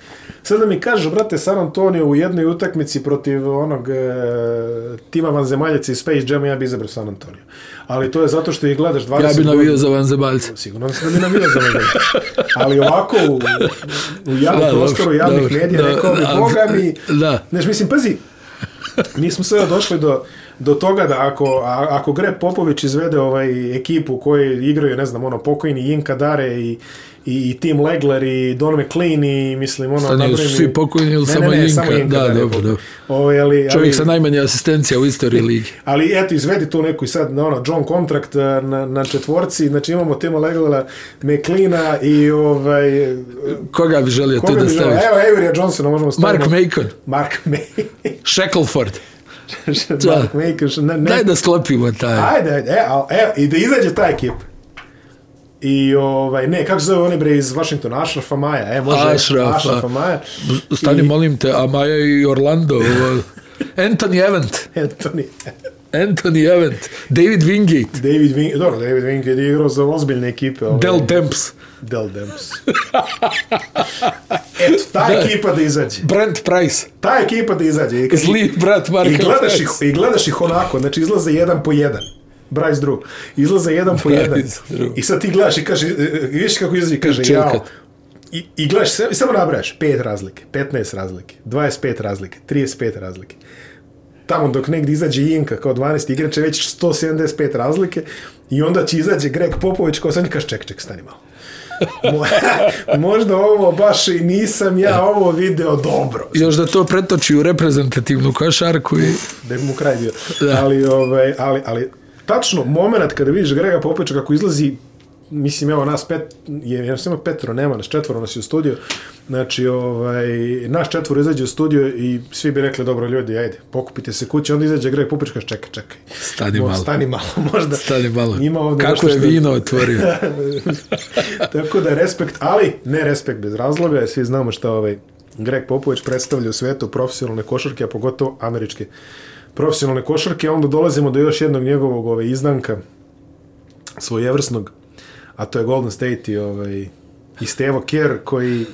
A: Sad da mi kažeš, brate, San Antonio u jednoj utakmici protiv onog e, tima vanzemaljaca iz Space Jam, ja bi izabrao San Antonio. Ali to je zato što ih gledaš 20
B: Ja bi
A: godina.
B: navio za vanzemaljce.
A: Sigurno sam da bi navio za mene. Ali ovako, u, u javnom
B: Da,
A: prostoru,
B: dobro,
A: javnih
B: dobro,
A: medija,
B: da,
A: rekao bi,
B: a-
A: boga mi...
B: da.
A: Znaš, mislim, pazi, mi smo sada došli do, do toga da ako, a, ako Greb Popović izvede ovaj ekipu koji igraju, ne znam, ono, pokojni Jinka Dare i, i, i Tim Legler i Don McLean i, mislim, ono...
B: Šta nisu
A: nabrojim-
B: svi pokojni ili
A: Ne,
B: samo
A: ne, ne,
B: Jinka? Da,
A: Dare je
B: dobro,
A: pokojni.
B: dobro.
A: Ovaj, ali, ali,
B: Čovjek sa najmanje asistencija u
A: <laughs>
B: istoriji ligi.
A: Ali eto, izvedi tu neku i sad na ono, John Contract e, na, na četvorci, znači imamo Tima Leglera, McLeana i ovaj... e,
B: Koga bi želio tu
A: koga
B: da
A: bi želeo?
B: staviš?
A: Evo, Averija Johnsona možemo staviti.
B: Mark Macon,
A: Mark May.
B: <laughs> Shackleford.
A: Mark May. Ne, ne.
B: Daj da sklopimo taj.
A: Ajde, ajde, e, al, e, i da izađe ta ekipa. I ovaj, ne, kako se zove oni bre iz Washingtona, Ašrafa Maja, e, može
B: Ashraf,
A: Ašrafa, Ašrafa
B: a-
A: Maja.
B: Stani,
A: I <laughs>
B: molim te, a Maja i Orlando. ovo- Anthony Event.
A: Anthony,
B: Anthony Event. David Wingate.
A: David Wing, dobro, David Wing je igrao za ozbiljne ekipe. Ovaj.
B: Del Demps.
A: Del Demps. Eto, ta ekipa da izađe.
B: Brent Price.
A: Ta ekipa da izađe. I, kad-
B: Zli brat
A: i,
B: Marka
A: gledaš ih,
B: Price.
A: I gledaš ih onako, znači izlaze jedan po jedan. Bryce Drew. Izlaze jedan po
B: Bryce
A: jedan.
B: Drew.
A: I sad ti gledaš i kaže, e, e, vidiš kako izlazi, kaže,
B: Čelkat.
A: jao. I, I gledaš, sve, i samo nabrajaš, pet razlike, 15 razlike, 25 razlike, 35 razlike. Tamo dok negdje izađe Jinka kao 12 igrač je već 175 razlike i onda će izađe Greg Popović kao sad kaže ček, ček, stani malo. <laughs> Mo- <laughs> Možda ovo baš i nisam ja ovo video dobro.
B: Još da to pretoči u reprezentativnu košarku i...
A: da bi mu kraj bio.
B: Da.
A: Ali, ovaj, ali, ali tačno, moment kada vidiš Grega Popovića kako izlazi, mislim, evo nas pet, je, ja sam Petro, nema nas četvoro, nas je u studiju, znači, ovaj, naš četvor izađe u studiju i svi bi rekli, dobro ljudi, ajde, pokupite se kući, onda izađe Greg Popović, kaže, čekaj, čekaj.
B: Stani
A: Mo-
B: malo.
A: Stani malo, <laughs> možda.
B: Stani malo.
A: Ima ovdje
B: Kako
A: nešto
B: je
A: što-
B: vino
A: <laughs>
B: otvorio?
A: Tako da respekt, ali ne respekt bez razloga, jer svi znamo šta ovaj Greg Popović predstavlja u svetu profesionalne košarke, a pogotovo američke profesionalne košarke, a onda dolazimo do još jednog njegovog ovaj, izdanka svojevrsnog, a to je Golden State i, ovaj, i Stevo Kerr koji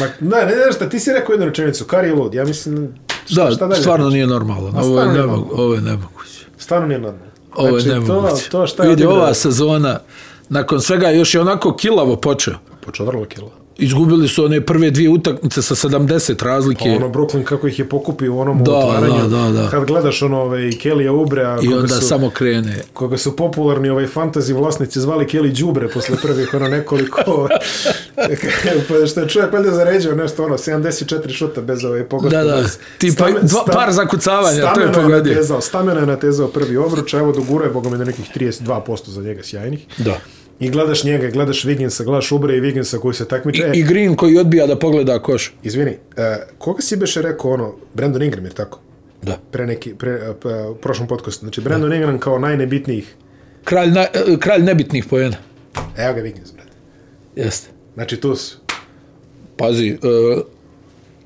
A: Ma, ne, ne, ne, šta, ti si rekao jednu rečenicu, Kari je lud, ja mislim, šta,
B: Da,
A: šta dalje?
B: stvarno nije normalno.
A: A
B: Ovo je,
A: stvarno je
B: nemogu, ovo je nemoguće.
A: Stvarno nije normalno.
B: Ovo je
A: znači, to,
B: nemoguće.
A: to šta je
B: Vidi,
A: odigrao-
B: ova sezona, nakon svega, još je onako kilavo počeo.
A: Počeo vrlo kilo.
B: Izgubili su one prve dvije utakmice sa 70 razlike.
A: Ono Brooklyn kako ih je pokupio u onom
B: Da,
A: otvaranju.
B: da, da, da.
A: Kad gledaš ono ovaj Kelly Ubrea
B: I
A: koga
B: onda
A: su,
B: samo krene.
A: koga su popularni ovaj fantasy vlasnici zvali Kelly Đubre posle prvih ono
B: <laughs>
A: nekoliko <laughs> pa što je čovjek valjda zaređio nešto ono 74 šuta bez ove pogotka.
B: Da, da,
A: bez-
B: tipa
A: Stame-
B: dva-
A: sta-
B: par zakucavanja, to je
A: Stameno
B: pogodio.
A: natezao, stameno je natezao prvi obruč, a evo dogurao je bogome do nekih 32% za njega sjajnih.
B: Da.
A: I gledaš njega, gledaš Viginsa, gledaš Ubre i Viginsa koji se takmiče. E,
B: I Green koji odbija da pogleda koš.
A: Izvini, e, koga si beše rekao ono, Brandon Ingram, jer tako?
B: Da.
A: Pre neki, pre, e, p- e, u prošlom podcastu. Znači, Brandon Ingram kao najnebitnijih
B: kralj, na, e, kralj nebitnih pojena.
A: Evo ga Vikings, brate.
B: Jeste.
A: Znači, tu su.
B: Pazi, e,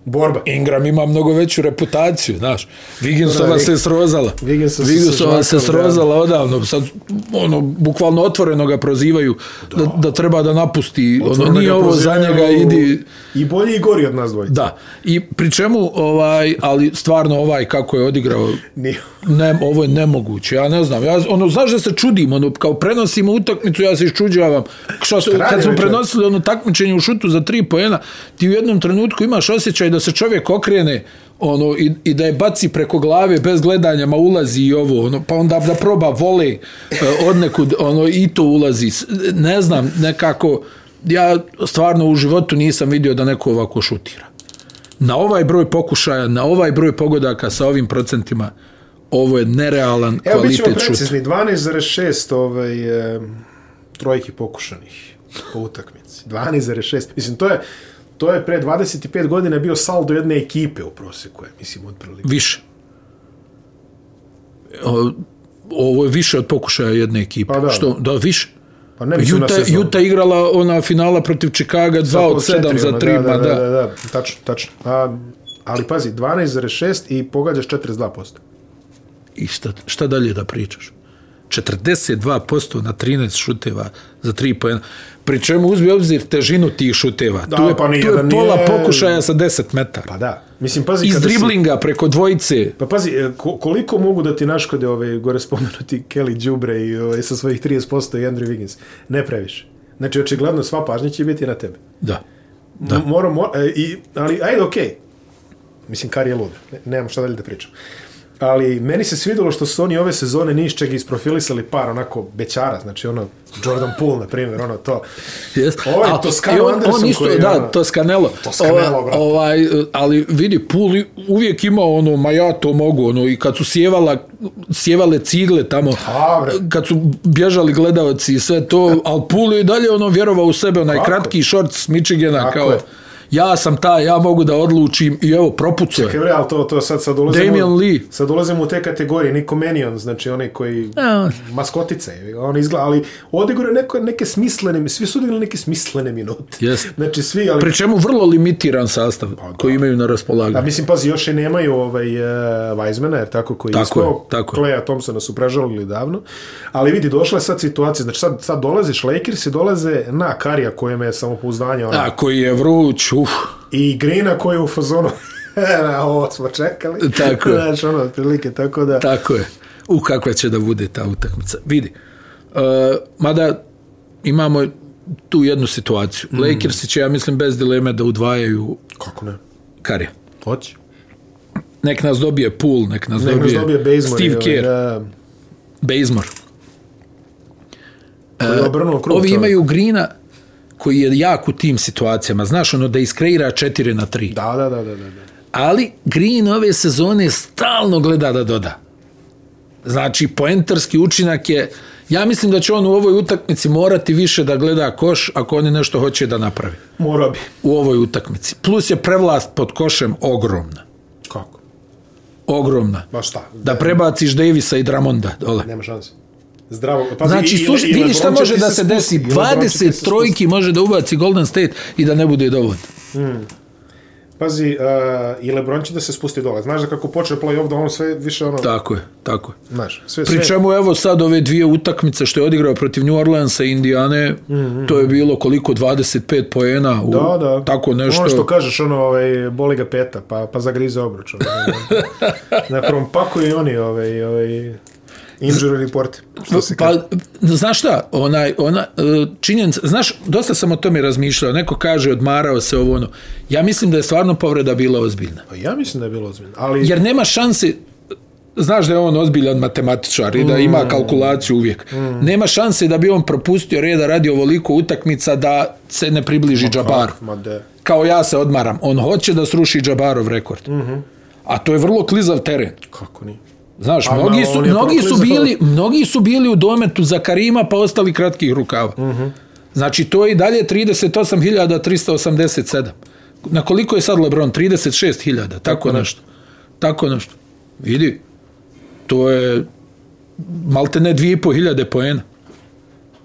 A: Borba.
B: Ingram ima mnogo veću reputaciju, znaš. Viginsova
A: Da,
B: se srozala.
A: Viginsova se
B: Viginsova se
A: sa žvakom,
B: srozala odavno. Sad, ono, bukvalno otvoreno ga prozivaju da, da treba da napusti. Ono,
A: Otvoreno
B: nije
A: ga
B: ovo za
A: prozivaju
B: njega, idi...
A: I bolji i gori od nas dvojica.
B: Da, i pri čemu, ovaj, ali stvarno ovaj kako je odigrao,
A: Nije.
B: ne, ovo je nemoguće, ja ne znam, ja, ono, znaš da se čudim, ono, kao prenosimo utakmicu, ja se iščuđavam, Šta se, kad smo
A: Kraljevića.
B: prenosili ono takmičenje u šutu za tri pojena, ti u jednom trenutku imaš osjećaj da se čovjek okrene, ono, i, i da je baci preko glave bez gledanja, ma ulazi i ovo, ono, pa onda da proba vole e, odnekud, ono, i to ulazi, S- ne znam, nekako, ja stvarno u životu nisam vidio da neko ovako šutira na ovaj broj pokušaja, na ovaj broj pogodaka sa ovim procentima, ovo je nerealan
A: Evo, bit ćemo
B: kvalitet šuta.
A: precizni. 12,6 ovaj, e, trojki pokušanih po utakmici. 12,6. Mislim, to je, to je pre 25 godina bio saldo jedne ekipe u proseku, ja mislim, otprilike.
B: Više. O, Ovo je više od pokušaja jedne ekipe.
A: Pa da.
B: Što, da, više.
A: Pa ne mislim na
B: Juta,
A: sezonu.
B: Juta igrala ona finala protiv Čikaga 2 Pa od 7 za 3,
A: ono, da,
B: pa
A: da, da,
B: da.
A: da, da, tačno, tačno. A, ali pazi, 12,6 i pogađaš 42%.
B: I šta, šta dalje da pričaš? 42% na 13 šuteva za 3 pojena. Pri čemu uzmi obzir težinu tih šuteva.
A: Da,
B: tu je,
A: pa nije
B: tu je
A: da
B: pola
A: nije-
B: pokušaja sa 10 metara.
A: Pa da. Mislim, pazi,
B: Iz
A: kada si-
B: driblinga preko dvojice.
A: Pa pazi, e, ko, koliko mogu da ti naškode ove gore spomenuti Kelly Đubre i ove, sa svojih 30% i Andrew Wiggins? Ne previše. Znači, očigledno, sva pažnja će biti na tebe.
B: Da.
A: Da. Moram, mor, e, i, ali, ajde, okej. Mislim, kar je lud. Ne, nemam šta dalje da pričam. Ali meni se svidelo što su oni ove sezone ni iz čega isprofilisali par onako bećara, znači ono Jordan Poole, na primjer, ono to.
B: Jest.
A: Ovo je
B: A,
A: Toscano
B: i
A: Anderson
B: on isto,
A: koji je, ono-
B: Da, Toscanelo.
A: Toscanelo, brate.
B: ovaj, ali vidi, Pul uvijek ima ono, ma ja to mogu, ono, i kad su sjevala, sjevale cigle tamo,
A: Da, bre.
B: kad su bježali gledalci i sve to, ali Pul je i dalje ono vjerovao u sebe, onaj
A: Tako je.
B: kratki šort s Michigana,
A: Tako
B: kao,
A: je.
B: ja sam ta, ja mogu da odlučim i evo, propucao je.
A: Kaj bre, ali to, to sad, sad dolazimo,
B: Damian Lee.
A: sad dolazimo u te kategorije, Nico Mannion, znači onaj koji,
B: A.
A: maskotice, on izgleda, ali odigrao je neko, neke smislene, svi su odigrali neke smislene minute.
B: Jeste.
A: Znači svi, ali...
B: Pri čemu vrlo limitiran sastav
A: Pa
B: koji imaju na
A: A
B: raspolaganju.
A: mislim, pazi, još i nemaju ovaj, uh, Weizmana, jer tako koji
B: Tako
A: ispao.
B: je, tako je.
A: Kleja Thompsona su prežalili davno. Ali vidi, došla je sad situacija, znači sad, sad dolaziš Lakers i dolaze na Karija kojem je samopouzdanje ona,
B: A koji je vruć, uf.
A: i Grina koji je u fazonu <laughs> "E, ovo smo čekali.
B: Tako je.
A: znači, ono, otprilike, tako da...
B: Tako je. U kakva će da bude ta utakmica. Vidi, uh, mada imamo tu jednu situaciju. Mm. Lakersi će, ja mislim, bez dileme da udvajaju
A: Kako ne?
B: Karija.
A: Hoće.
B: Nek nas dobije Pool, nek nas
A: Nek nas
B: dobije,
A: dobije Bazemore.
B: Steve
A: ovaj,
B: Kerr, da.
A: Da,
B: Bazemore.
A: koji je obrnuo krug
B: E, Ovi
A: čovjek.
B: imaju Grina koji je jak u tim situacijama. Znaš, ono da iskreira 4 na 3.
A: Da, da, da, da, da. da.
B: Ali Green ove sezone stalno gleda da doda. Znači, poentarski učinak je, ja mislim da će on u ovoj utakmici morati više da gleda koš ako oni nešto hoće da napravi
A: Morao bi.
B: u ovoj utakmici. Plus je prevlast pod košem ogromna.
A: Kako?
B: Ogromna.
A: Ma šta?
B: Da prebaciš Davisa i Dramonda dole.
A: Nema šanse. Zdravo. Pazi,
B: Znači,
A: i- i-
B: suš,
A: i
B: vidi šta
A: LeBron će
B: može
A: ti
B: da
A: se
B: se
A: spusti,
B: desi.
A: i LeBron će ti se
B: 20
A: spustiti.
B: trojki može da ubaci Golden State i da ne bude dovoljno.
A: Pazi, uh, i Lebron će da se spusti dole. Znaš da kako počne play-off, da ono sve više ono...
B: Tako je, tako je.
A: Znaš, sve, sve.
B: Pri čemu evo sad ove dvije utakmice što je odigrao protiv New Orleansa i Indijane, mm -hmm. to je bilo koliko 25 poena u
A: Mhm. Da, da.
B: tako nešto.
A: Ono što kažeš, ono, ovaj, boli ga peta, pa, pa zagrize obruč.
B: <laughs>
A: Ono, na prvom paku i oni, ovaj, ovaj, injury report. Što se
B: pa
A: kaže.
B: znaš šta, onaj ona e, činjenica, znaš, dosta sam o tome razmišljao. Neko kaže odmarao se ovo ono. Ja mislim da je stvarno povreda bila ozbiljna.
A: Pa ja mislim da je bilo ozbiljno. Ali,
B: Jer nema šanse znaš da je on ozbiljan matematičar i da
A: Mm.
B: ima kalkulaciju uvijek. Nema šanse da bi on propustio reda radi ovoliko utakmica da se ne približi Džabaru.
A: Pa, Ma de.
B: kao ja se odmaram. On hoće da sruši Džabarov rekord. Mm
A: Mhm.
B: -hmm. A to je vrlo klizav teren.
A: Kako nije?
B: Znaš,
A: A,
B: mnogi
A: ma,
B: su,
A: Pa on je
B: mnogi, su
A: proklizav.
B: bili, mnogi su bili u dometu za Karima pa ostali kratkih rukava. Mm
A: Mhm.
B: -hmm. Znači, to je i dalje 38.387. Na koliko je sad Lebron? 36.000, tako, tako nešto. Tako nešto. Vidi, to je malte ne 2.500 poena.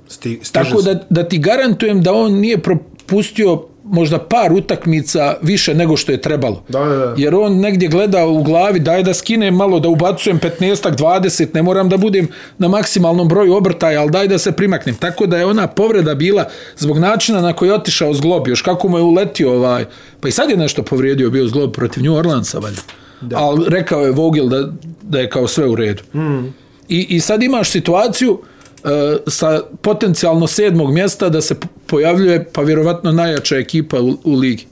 A: Sti, stiže
B: Tako
A: se.
B: da, da ti garantujem da on nije propustio možda par utakmica više nego što je trebalo.
A: Da, da, da.
B: Jer on negdje gleda u glavi, daj da skinem malo, da ubacujem 15-ak, 20, ne moram da budem na maksimalnom broju obrtaja, ali daj da se primaknem. Tako da je ona povreda bila zbog načina na koji je otišao zglob, još kako mu je uletio ovaj, pa i sad je nešto povrijedio bio zglob protiv New Orleansa, valjda. Ali rekao je Vogel da, da je kao sve u redu. Mm. I, I sad imaš situaciju e, sa potencijalno sedmog mjesta da se p- pojavljuje pa vjerovatno najjača ekipa u, u ligi.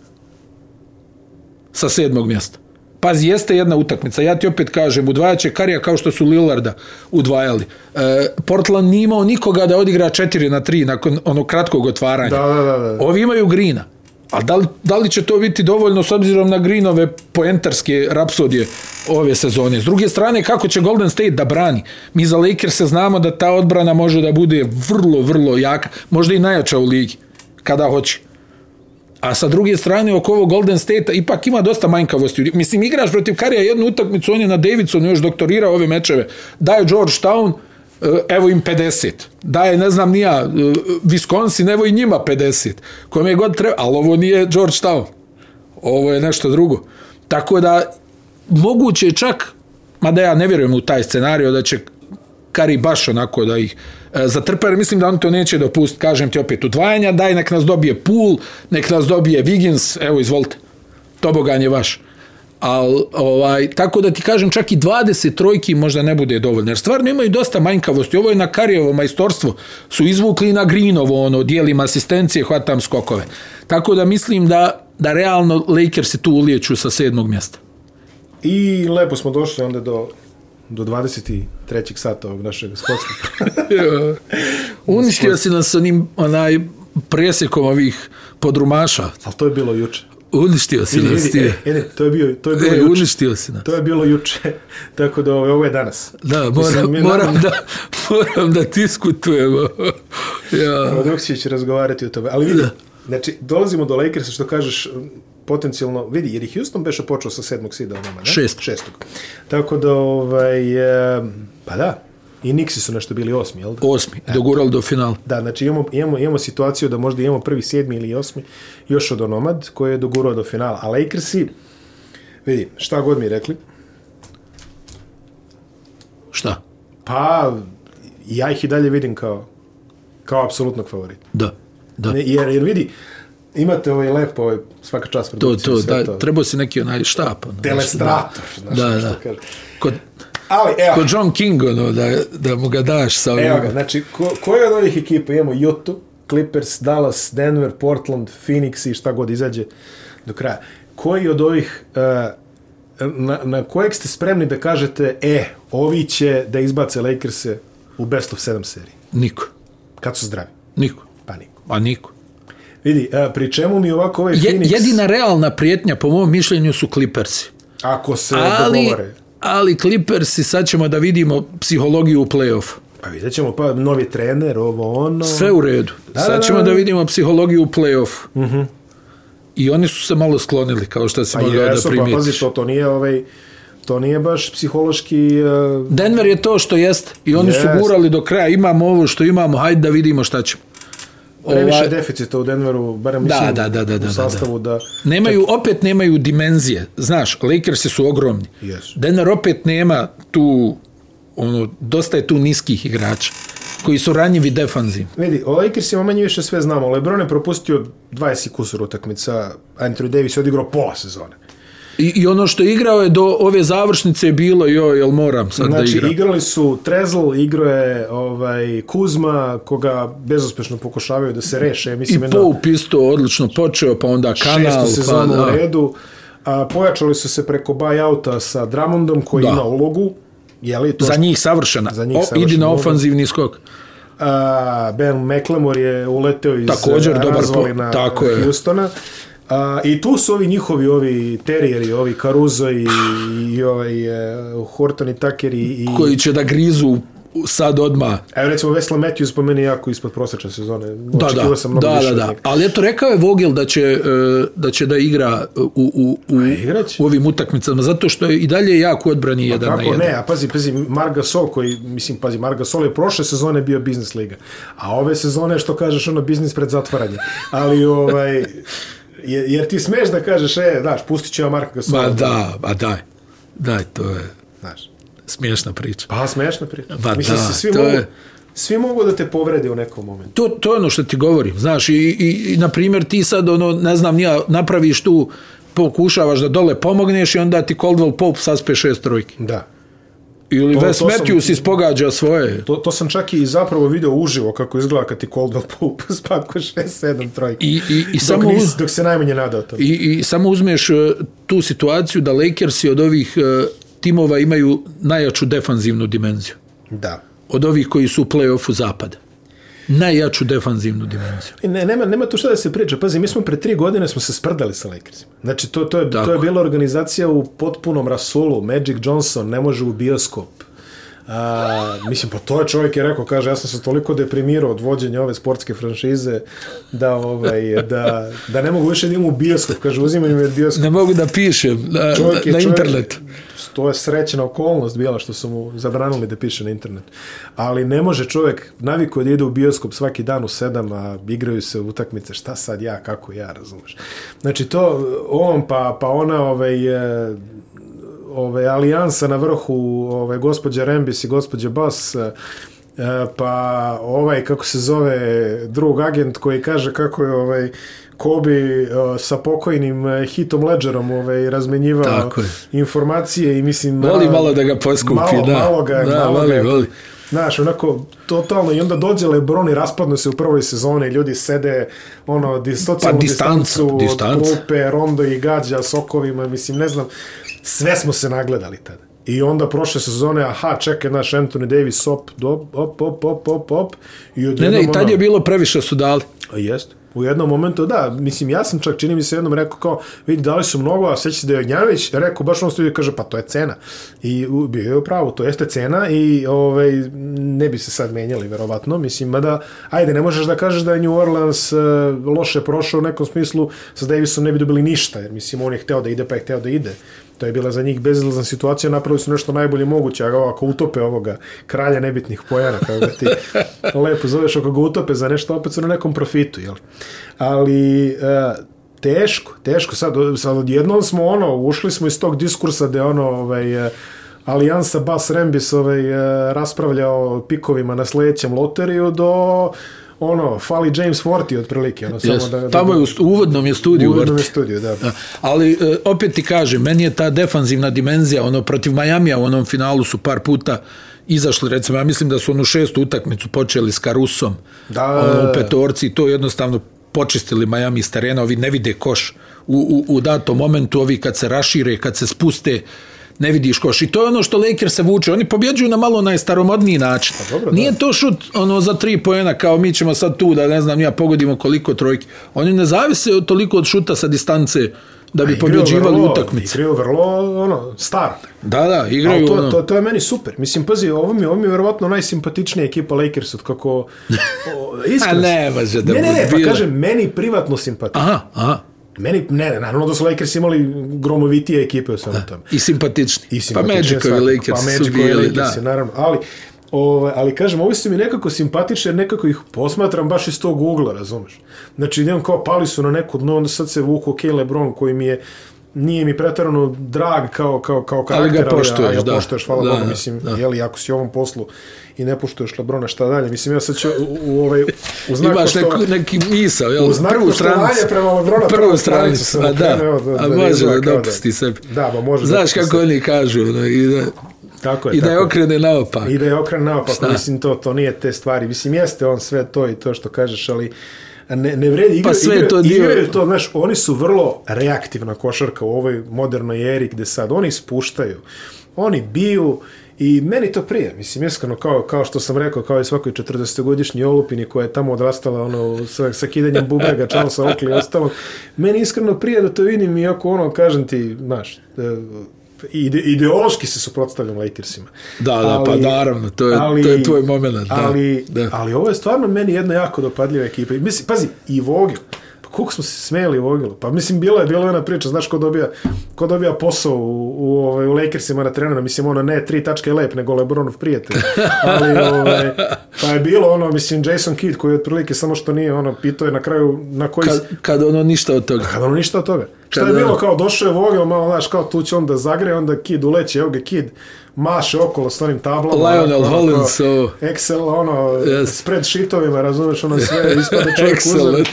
B: Sa sedmog mjesta. Pazi, jeste jedna utakmica. Ja ti opet kažem, udvajaće Karija kao što su Lillarda udvajali. E, Portland nije imao nikoga da odigra 4 na 3 nakon onog kratkog otvaranja.
A: Da, da, da, da.
B: Ovi imaju Grina. A da li, da li će to biti dovoljno s obzirom na Greenove poentarske rapsodije ove sezone? S druge strane, kako će Golden State da brani? Mi za Lakers se znamo da ta odbrana može da bude vrlo, vrlo jaka. Možda i najjača u ligi, kada hoće. A sa druge strane, oko ovog Golden State-a ipak ima dosta manjkavosti. Mislim, igraš protiv Karija jednu utakmicu, on je na Davidsonu još doktorirao ove mečeve. Daje Georgetown, e, evo im 50. Daje, ne znam, nija, e, Wisconsin, evo i njima 50. Kome god treba, ali ovo nije Georgetown. Ovo je nešto drugo. Tako da, moguće je čak, mada ja ne vjerujem u taj scenario, da će Kari baš onako da ih e, zatrpa, jer mislim da on to neće dopustiti, kažem ti opet, udvajanja, daj nek nas dobije Pool, nek nas dobije Wiggins, evo izvolite, tobogan je vaš. Al, ovaj, tako da ti kažem, čak i 20 trojki možda ne bude dovoljno, jer stvarno imaju dosta manjkavosti, ovo je na Karijevo majstorstvo, su izvukli i na Greenovo, ono, dijelim asistencije, hvatam skokove. Tako da mislim da, da realno Lakers se tu ulijeću sa sedmog mjesta.
A: <laughs> I lepo smo došli onda do do 23. sata ovog našeg sportskog.
B: Ja. Uništio si nas onim onaj presjekom ovih podrumaša.
A: Ali to je bilo juče.
B: Uništio si
A: Vidi,
B: nas
A: vidi, e,
B: ti.
A: e, ne, to je bio, to je bilo
B: E,
A: juče.
B: uništio si nas.
A: To je bilo juče. <laughs> Tako da ovaj, ovo, ovo je danas.
B: Da,
A: Mislim,
B: moram,
A: mi-
B: moram, da, moram da diskutujemo.
A: <laughs>
B: Ja.
A: Evo, Drugčije će razgovarati o tome. Ali vidi, znači, dolazimo do Lakersa, što kažeš, potencijalno, vidi, jer i Houston beše počeo sa sedmog sida o nama, ne?
B: Šestog.
A: Šestog. Tako da, ovaj, e, pa da, i Nixi su nešto bili osmi, jel da?
B: Osmi, dogurali do finala.
A: Da, znači imamo, imamo, imamo situaciju da možda imamo prvi, sedmi ili osmi još od Onomad koji je dogurao do finala. A Lakersi, vidi, šta god mi rekli,
B: Šta?
A: pa ja ih i dalje vidim kao, kao apsolutnog favorita.
B: Da, da.
A: Ne, jer, jer vidi, imate ovaj lepo, ovaj, svaka čast
B: To,
A: produkciju,
B: to,
A: sve
B: da, trebao si neki onaj štap. Ono,
A: Telestrator,
B: znaš,
A: znaš, što
B: da, da.
A: kaže.
B: Kod,
A: Ali, e, evo,
B: kod John King, ono, da, da mu ga daš sa ovim.
A: evo ga, znači, ko, koje od ovih ekipa imamo? Utah, Clippers, Dallas, Denver, Portland, Phoenix i šta god izađe do kraja. Koji od ovih, uh, na, na kojeg ste spremni da kažete, e, ovi će da izbace Lakers-e u best of 7 seriji?
B: Niko,
A: Kad su zdravi?
B: niko,
A: Pa niko.
B: a niko.
A: Vidi, uh, pri čemu mi ovako ovaj
B: Je,
A: Phoenix,
B: jedina realna prijetnja, po mom mišljenju, su Clippersi.
A: ako se ali...
B: Ali,
A: dogovore,
B: ali Clippersi, sad ćemo da vidimo psihologiju u play-off.
A: pa vidjet ćemo, pa novi trener, ovo ono...
B: Sve u redu.
A: Da, da,
B: sad
A: da,
B: ćemo
A: da. Mhm.
B: da vidimo psihologiju u play-off. Uh -huh. I oni su se malo sklonili, kao što si
A: Pa
B: mogao da
A: jesu, pa pazi,
B: primijetiš.
A: to, to nije ovaj, to nije baš psihološki, uh,
B: Denver je to što jest i oni su
A: Jest.
B: gurali do kraja. Imamo ovo što imamo, hajde da vidimo šta ćemo.
A: previše
B: Ovaj,
A: deficita u Denveru, barem mislim
B: da, da, da, da,
A: u
B: da.
A: sastavu da,
B: Nemaju, opet nemaju dimenzije. Znaš, Lakersi su ogromni.
A: Jesu.
B: Denver opet nema tu, ono, dosta je tu niskih igrača koji su ranjivi defanzivno.
A: Vidi, o Lakersima manje više sve znamo. LeBron je propustio 20 i kusur utakmica, Anthony Davis je odigrao pola sezone.
B: I, I ono što je igrao je do ove završnice je bilo, joj, jel moram sad
A: Znači,
B: da igram.
A: igrali su Trezl, igro je ovaj, Kuzma, koga bezuspešno pokušavaju da se reše. Mislim,
B: I
A: jedno
B: Pope isto odlično počeo, pa onda kanal,
A: šestu
B: pa
A: sezonu u
B: da.
A: redu. A, pojačali su se preko buyouta sa Dramondom, koji
B: Da.
A: ima ulogu. Jeli, to
B: Za
A: što-
B: njih savršena.
A: Za njih
B: o, idi
A: savršena
B: na
A: uloga.
B: ofanzivni skok.
A: A, ben McLemore je uleteo iz
B: Također
A: eh,
B: dobar po-
A: razvalina
B: tako je.
A: Houstona. A, I tu su ovi njihovi, ovi terijeri, ovi Caruso i, i ovaj, eh, e, Horton i Tucker i, i
B: Koji će da grizu sad odma.
A: Evo recimo Vesla Matthews po meni jako ispod prosečne sezone.
B: Da, da,
A: Očekivao sam mnogo
B: da,
A: više
B: da,
A: od
B: da.
A: njega.
B: Ali eto, rekao je Vogel da će, e, da će da igra u, u, u,
A: igraće.
B: u ovim utakmicama, zato što je i dalje jak u odbrani jedan na
A: Pa Kako
B: jedan.
A: ne, a pazi, pazi, Marga Sol koji, mislim, pazi, Marga Sol je prošle sezone bio biznis liga, a ove sezone, što kažeš, ono, biznis pred zatvaranje. Ali, ovaj, jer, jer ti smeš da kažeš, e, daš, pustit ću ja Marka Gasola.
B: Ma da, ma daj. Daj, to je
A: Znaš.
B: smiješna priča.
A: Pa, smešna priča.
B: Ma
A: mislim,
B: da,
A: se svi,
B: to
A: mogu,
B: je-
A: svi mogu da te povrede u nekom momentu.
B: To, to je ono što ti govorim, znaš, i, i, i na primjer ti sad, ono, ne znam, nija, napraviš tu, pokušavaš da dole pomogneš i onda ti Coldwell Pope saspe šest trojki.
A: Da.
B: Ili
A: Pa To-
B: Wes
A: to sam-
B: Matthews ispogađa svoje.
A: To, to sam čak i zapravo video uživo kako izgleda kad ti Coldwell <laughs> Pope spakuje 6-7 trojke.
B: I, i, i
A: dok,
B: samo uz,
A: nis, dok se najmanje nadao tome.
B: I, I samo uzmeš e, tu situaciju da Lakersi od ovih e, timova imaju najjaču defanzivnu dimenziju.
A: Da.
B: Od ovih koji su u play-offu zapada. Najjaču defanzivnu dimenziju.
A: I Ne, nema, nema tu šta da se priča. Pazi, mi smo pre tri godine smo se sprdali sa Lakersima. Znači, to, to, je, to
B: Tako.
A: je bila organizacija u potpunom rasulu. Magic Johnson ne može u bioskop. A, mislim, pa to je čovjek je rekao, kaže, ja sam se toliko deprimirao od vođenja ove sportske franšize da, ovaj, da, da ne mogu više da imam u bioskop. Kaže, uzimaju me bioskop.
B: Ne mogu da pišem na,
A: Čovjek je
B: na
A: čovjek-
B: internetu.
A: To je srećna okolnost bila što su mu zabranili da piše na internet. Ali ne može čovjek, naviku da ide u bioskop svaki dan u sedam, a igraju se utakmice, šta sad ja, kako ja, razumeš. Znači to, on pa, pa ona ovaj, e, ovaj, alijansa na vrhu ovaj, gospođa Rembis i gospođa Bas e, pa ovaj kako se zove drug agent koji kaže kako je ovaj Kobe e, sa pokojnim e, hitom Ledgerom ovaj, razmenjivao
B: Tako je.
A: informacije i mislim...
B: Voli
A: a,
B: malo da ga poskupi,
A: malo,
B: da.
A: Malo ga,
B: Da,
A: malo
B: voli,
A: ga,
B: voli.
A: Znaš, onako, totalno, i onda dođe Lebron i raspadnu se u prvoj sezoni, ljudi sede, ono, di, socijalnu
B: Pa distanca,
A: distancu, od
B: distanca.
A: klupe, rondo i gađa sokovima, mislim, ne znam, sve smo se nagledali tada. I onda prošle sezone, aha, čekaj naš Anthony Davis, op, op, op, op, op, op, op. I
B: Ne,
A: odjednom,
B: ne, i tad
A: ono-
B: je bilo previše su dali.
A: A Jest. U jednom momentu, da, mislim, ja sam čak čini mi se jednom rekao kao, vidi, dali su mnogo, a sveća se da je Ognjanović rekao, baš ono studiju kaže, pa to je cena. I u, bio je u pravu, to jeste cena i ovaj, ne bi se sad menjali, verovatno. Mislim, mada, ajde, ne možeš da kažeš da je New Orleans uh, loše prošao u nekom smislu, sa Davisom ne bi dobili ništa, jer mislim, on je hteo da ide, pa je hteo da ide. To je bila za njih bezilazna situacija, napravili su nešto najbolje moguće, a ako utope ovoga kralja nebitnih pojena, kako ga
B: <laughs>
A: ti lepo zoveš, ako ga utope za nešto, opet su na nekom profitu, jel? Ali, e, teško, teško, sad, sad odjednom smo ono, ušli smo iz tog diskursa gde ono, ovaj, e, Alijansa Bas Rembis ovaj, e, raspravlja o pikovima na sledećem loteriju do ono, fali James Forty otprilike. Ono, samo
B: Jest.
A: da, da,
B: Tamo je u, stu- u uvodnom je studiju.
A: u uvodnom
B: vrti.
A: je studiju, da.
B: Da. Ali e, opet ti kažem, meni je ta defanzivna dimenzija, ono protiv Majamija u onom finalu su par puta izašli, recimo, ja mislim da su onu šestu utakmicu počeli s Karusom,
A: Da.
B: ono, u petorci, i to jednostavno počistili Miami s terena, ovi ne vide koš u, u, u datom momentu, ovi kad se rašire, kad se spuste, ne vidiš koš. I to je ono što Lakers se vuče. Oni pobjeđuju na malo najstaromodniji način.
A: Pa dobro, da.
B: Nije to šut ono za tri poena kao mi ćemo sad tu da ne znam ja pogodimo koliko trojki. Oni ne zavise od, toliko od šuta sa distance da bi
A: Igraju
B: pobjeđivali
A: vrlo-
B: utakmice.
A: Igraju vrlo, ono, star.
B: Da, da,
A: Ali
B: igraju to,
A: to,
B: ono.
A: to, to je meni super. Mislim, pazi, ovo mi, ovo mi je verovatno najsimpatičnija ekipa Lakers od
B: <laughs>
A: kako... O, iskreno.
B: A ne može da
A: Ne, ne, ne,
B: bude
A: pa
B: bilo.
A: kažem, meni privatno simpatično.
B: Aha, aha.
A: Meni, ne, ne, naravno da su Lakers imali gromovitije ekipe u svemu tome.
B: I simpatični.
A: I
B: pa
A: simpatični
B: Magicovi
A: svakako.
B: Lakers
A: pa
B: su
A: Magicovi
B: bili, da.
A: Lakers, naravno. Ali, Ove, ali kažem, ovi su mi nekako simpatični jer nekako ih posmatram baš iz tog ugla, razumeš? Znači, idem kao pali su na neko dno, onda sad se vuku ok, Lebron koji mi je nije mi pretarano drag kao, kao, kao karakter,
B: ga poštuješ,
A: ali ga
B: da.
A: poštuješ, hvala
B: Da,
A: Bogu, mislim,
B: da.
A: jeli, ako si u ovom poslu i ne poštuješ Lebrona, šta dalje? Mislim, ja sad ću u, u, ovaj, u znak
B: Imaš
A: poštova-
B: neku, neki misao, jel?
A: u znak
B: Prvu
A: poštovanja
B: stranicu.
A: prema Lebronu,
B: Prvu stranicu,
A: sam
B: a da.
A: okrenuo, da-
B: A
A: da
B: može
A: izgleda
B: da
A: kao da-
B: dopusti sebi.
A: Da, ba, može
B: Znaš
A: dopusti
B: kako oni kažu, ono, i da,
A: Tako je,
B: i da je
A: tako
B: okrene naopak.
A: I da je okren naopako,
B: Šta?
A: mislim, to, to nije te stvari. Mislim, jeste on sve to i to što kažeš, ali ne, ne vredi. Igra,
B: Pa sve
A: igra,
B: je to dio-
A: Igraju to, znaš, oni su vrlo reaktivna košarka u ovoj modernoj eri gde sad oni spuštaju, oni biju i meni to prije. Mislim, iskreno, kao, kao što sam rekao, kao i svakoj 40-godišnji olupini koja je tamo odrastala ono, sa, sa kidanjem bubrega, Charlesa Oakley i ostalog. Meni iskreno prije da to vidim, iako ono, kažem ti, znaš, e, ide, ideološki se suprotstavljam Lakersima.
B: Da, da, ali, pa naravno, to je, ali, to je tvoj moment. Da,
A: ali,
B: da.
A: ali ovo je stvarno meni jedna jako dopadljiva ekipa. I mislim, pazi, i Vogel. Pa koliko smo se smijeli Vogelu? Pa mislim, bila je, bila je jedna priča, znaš, ko dobija, ko dobija posao u, u, ovaj, u Lakersima na trenera, mislim, ono, ne tri tačke lep, nego Lebronov prijatelj. Ali, ovaj, pa je bilo, ono, mislim, Jason Kidd, koji je otprilike samo što nije, ono, pitao je na kraju na koji...
B: Kad, kad ono ništa od toga.
A: Kada ono ništa od toga. Šta je
B: Kada-
A: bilo kao došao je Vogel, malo znaš kao tu će onda zagre, onda Kid uleće, evo ga Kid maše okolo s onim tablama.
B: Lionel
A: onako, onako,
B: Hollins, ovo.
A: Excel, ono,
B: Yes.
A: yes. spreadsheetovima, razumeš, ono sve, ispade čovjek
B: Excel.
A: uzor,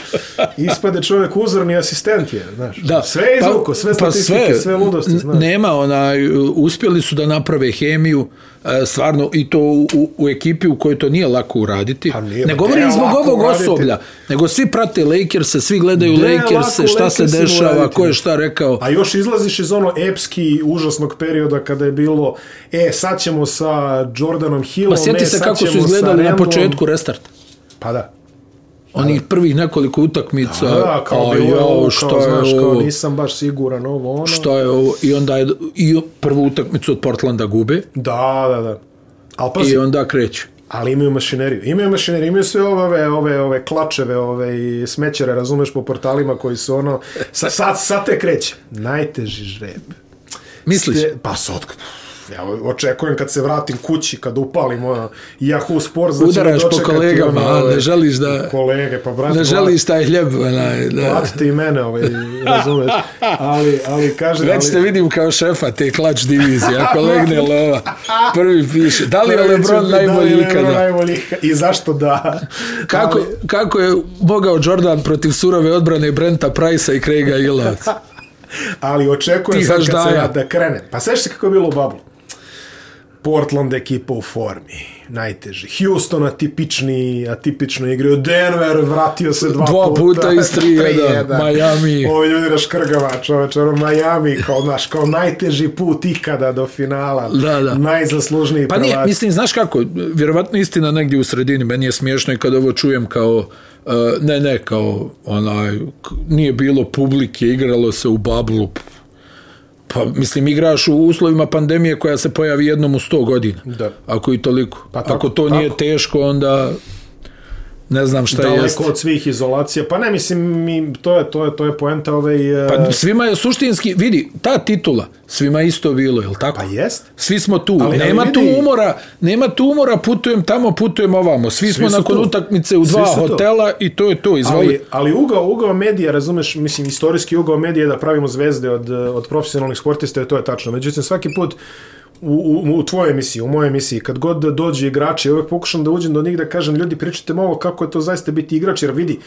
A: ispade čovjek uzorni asistent je, znaš.
B: Da. pa-
A: Sve je izvuko, sve statistike, sve, ludosti,
B: n-
A: znaš.
B: Nema onaj, uh, uspjeli su da naprave hemiju, e, stvarno, i to u, u- u ekipi u kojoj to nije lako uraditi.
A: Pa nije,
B: ne
A: gde je
B: govorim zbog
A: lako
B: ovog
A: uraditi?
B: osoblja, nego svi prate Lakers, svi gledaju
A: Gde je
B: Lakers,
A: lako
B: šta se
A: Lakersima
B: dešava,
A: uraditi?
B: ko je šta rekao.
A: A još izlaziš iz ono epski užasnog perioda kada je bilo e, sad ćemo sa Jordanom Hillom,
B: Pa sjeti
A: ne,
B: se
A: sad
B: kako su
A: ćemo sa
B: izgledali na
A: Randallom.
B: početku restarta.
A: Pa da.
B: Onih prvih nekoliko utakmica.
A: Da, kao
B: a
A: bilo je ovo,
B: jao,
A: kao,
B: šta je
A: znaš, kao
B: ovo?
A: nisam baš siguran ovo, ono.
B: Šta je ovo? I onda je, i prvu utakmicu od Portlanda gube
A: Da, da, da. Ali pazi,
B: i onda kreću.
A: ali imaju mašineriju. Imaju mašineriju, imaju sve ove, ove, ove klačeve, ove i smećere, razumeš, po portalima koji su ono, sa, sad, sad te kreće. Najteži žreb.
B: Misliš?
A: Ste- Pa sad, ja očekujem kad se vratim kući, kad upalim ono, Yahoo Sports, da će
B: Udaraš
A: me
B: po
A: dočekati,
B: kolegama,
A: ono,
B: a
A: ove,
B: ne želiš da-
A: Kolege, pa brate,
B: Ne želiš taj hljeb, onaj, da.
A: Platite i mene, ovaj, razumeš. Ali, ali kaže...
B: Već te
A: ali,
B: vidim kao šefa te klač divizije, ako legne lova. Prvi piše, da li je
A: Prvi će
B: Lebron
A: biti, da li je
B: najbolji
A: Lebron
B: ikada?
A: najbolji ikada? I zašto da?
B: Kako,
A: Ali-
B: kako je mogao Jordan protiv surove odbrane Brenta Price-a i Craiga Ilovca?
A: Ali očekujem
B: Ti
A: sad kad se
B: haždaja.
A: ja da krene. Pa sveći se kako je bilo u bablu. Portland ekipa u formi, najteži. Houston atipični, atipično igre. Denver vratio se dva,
B: Dva puta iz tri,
A: <laughs>
B: jedan.
A: 3-1.
B: Miami.
A: Ovi ljudi raškrgava, čoveče, ono Miami, kao, naš, kao najteži put ikada do finala.
B: Da, da.
A: Najzaslužniji
B: Pa nije, mislim, znaš kako, vjerovatno istina negdje u sredini, meni je smiješno i kad ovo čujem kao, e, ne, ne, kao, onaj, k- nije bilo publike, igralo se u bablu, pa mislim, igraš u uslovima pandemije koja se pojavi jednom u 100 godina,
A: Da.
B: ako i toliko.
A: Pa tako,
B: ako to nije
A: tako.
B: teško, onda ne znam šta
A: daleko
B: jest.
A: od svih izolacija. Pa ne, mislim, mi, to je, to je, to je poenta ovaj... e,
B: Pa svima je suštinski, vidi, ta titula, svima je isto bilo, je li tako?
A: pa jest.
B: Svi smo tu,
A: Ali- ali
B: ali, nema
A: vidi-
B: tu umora, nema tu umora, putujem tamo, putujem ovamo. Svi, smo
A: su
B: nakon
A: tu.
B: utakmice u
A: Svi
B: dva
A: su tu.
B: hotela i to je to, izvoli.
A: Ali, ali ugao, ugao medija, razumeš, mislim, istorijski ugao medija je da pravimo zvezde od, eh, od profesionalnih sportista, to je tačno. Međutim, svaki put u, u, u tvojoj emisiji, u mojoj emisiji, kad god dođu igrači, ja uvek pokušam da uđem do njih da kažem, ljudi, pričajte malo kako je to zaista biti igrač, jer vidi,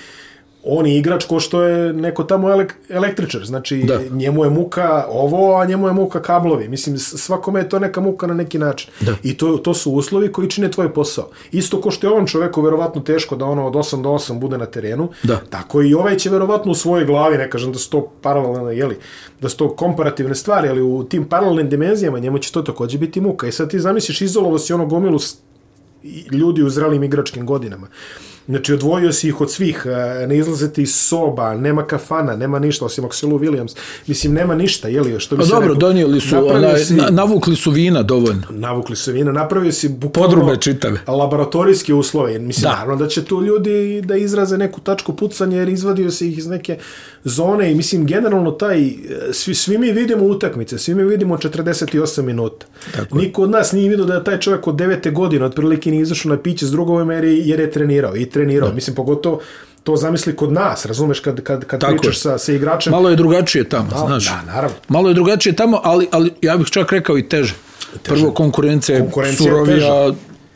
A: on je igrač ko što je neko tamo elek, električar, znači
B: Da.
A: da. njemu je muka ovo, a njemu je muka kablovi. Mislim, s- svakome je to neka muka na neki način. Da. I to, to su uslovi koji čine tvoj posao. Isto ko što je ovom čoveku verovatno teško da ono od 8 do 8 bude na terenu,
B: Da.
A: tako i ovaj će verovatno u svojoj glavi, ne kažem da su to paralelne, jeli, da su to komparativne stvari, ali u tim paralelnim dimenzijama njemu će to takođe biti muka. I sad ti zamisliš izolovo si ono gomilu s- i- ljudi u zrelim igračkim godinama. Znači, odvojio si ih od svih, e, ne izlazite iz soba, nema kafana, nema ništa, osim ako si Lou Williams. Mislim, nema ništa, jeli, što bi
B: Pa
A: se
B: dobro,
A: reklo.
B: donijeli su,
A: Napravio
B: onaj,
A: si-
B: na, navukli su vina dovoljno.
A: navukli su vina, napravio si bukvalno
B: Podrube čitave.
A: laboratorijske uslove. Mislim,
B: Da.
A: da. naravno da će tu ljudi da izraze neku tačku pucanja jer izvadio se ih iz neke zone i mislim, generalno taj, e, svi, svi mi vidimo utakmice, svi mi vidimo 48 minuta. Tako. Niko od nas nije vidio da je taj čovjek od devete godine otprilike nije izašao na piće s drugovima jer je, jer je trenirao i trenirao. Da. Mislim, pogotovo to zamisli kod nas, razumeš, kad, kad, kad
B: Tako je.
A: pričaš sa, sa igračem.
B: Malo je drugačije tamo,
A: Malo-
B: znaš.
A: da, naravno.
B: Malo je drugačije tamo, ali, ali ja bih čak rekao i teže. Prvo, konkurencija je
A: Konkurencija je
B: surovija,
A: teža.
B: ali,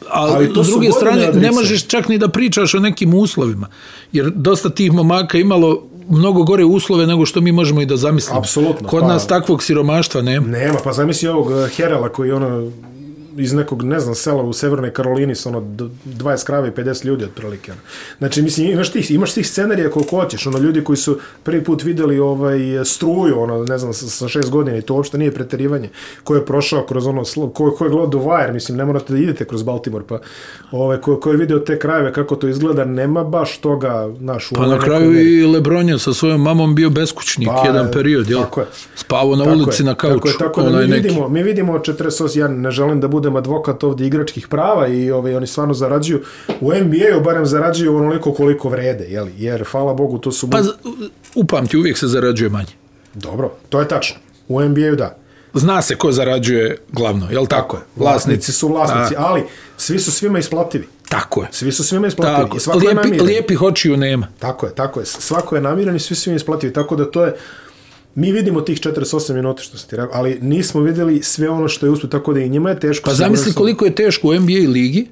A: Ali to
B: ali s
A: su
B: druge
A: godine
B: strane, ne
A: odricanja.
B: možeš čak ni da pričaš o nekim uslovima, jer dosta tih momaka imalo mnogo gore uslove nego što mi možemo i da zamislimo.
A: Apsolutno,
B: Kod
A: pa-
B: nas takvog siromaštva nema.
A: Nema, pa zamisli ovog eh, Herela koji e, ono iz nekog, ne znam, sela u Severnoj Karolini sa ono d- 20 krave i 50 ljudi otprilike. Ono. Znači, mislim, imaš tih, imaš tih scenarija koliko hoćeš, ono, ljudi koji su prvi put videli ovaj struju, ono, ne znam, sa, sa šest godina i to uopšte nije preterivanje, ko je prošao kroz ono, sl- ko, ko je gledao The Wire, mislim, ne morate da idete kroz Baltimore, pa ovaj, ko, ko je video te krajeve, kako to izgleda, nema baš toga, naš,
B: Pa na kraju i Lebron je sa svojom mamom bio beskućnik
A: Pa,
B: jedan period, jel?
A: tako je.
B: Spavao na ulici, na kauču.
A: Tako je, tako da mi
B: onaj neki.
A: vidimo, mi vidimo 48, ja ne želim da budem advokat ovdje igračkih prava i ovaj, oni stvarno zarađuju, u NBA-u barem zarađuju onoliko koliko vrede, jeli? jer hvala Bogu to su...
B: Pa z- upamti, uvijek se zarađuje manje.
A: Dobro, to je tačno. U NBA-u da.
B: Zna se ko zarađuje glavno, jel tako? Vlasnici.
A: Vlasnici su vlasnici, ali svi su svima isplativi.
B: Tako je.
A: Svi su svima isplativi.
B: Tako.
A: I svako je
B: Lijepi,
A: namiren.
B: lijepih očiju nema.
A: Tako je, tako je. Svako je namiran i svi su im isplativi. Tako da to je... Mi vidimo tih 48 minuta što sam ti rekao, ali nismo vidjeli sve ono što je uspio, tako da i njima je teško.
B: Pa
A: siguran
B: zamisli
A: sam.
B: koliko je teško u NBA ligi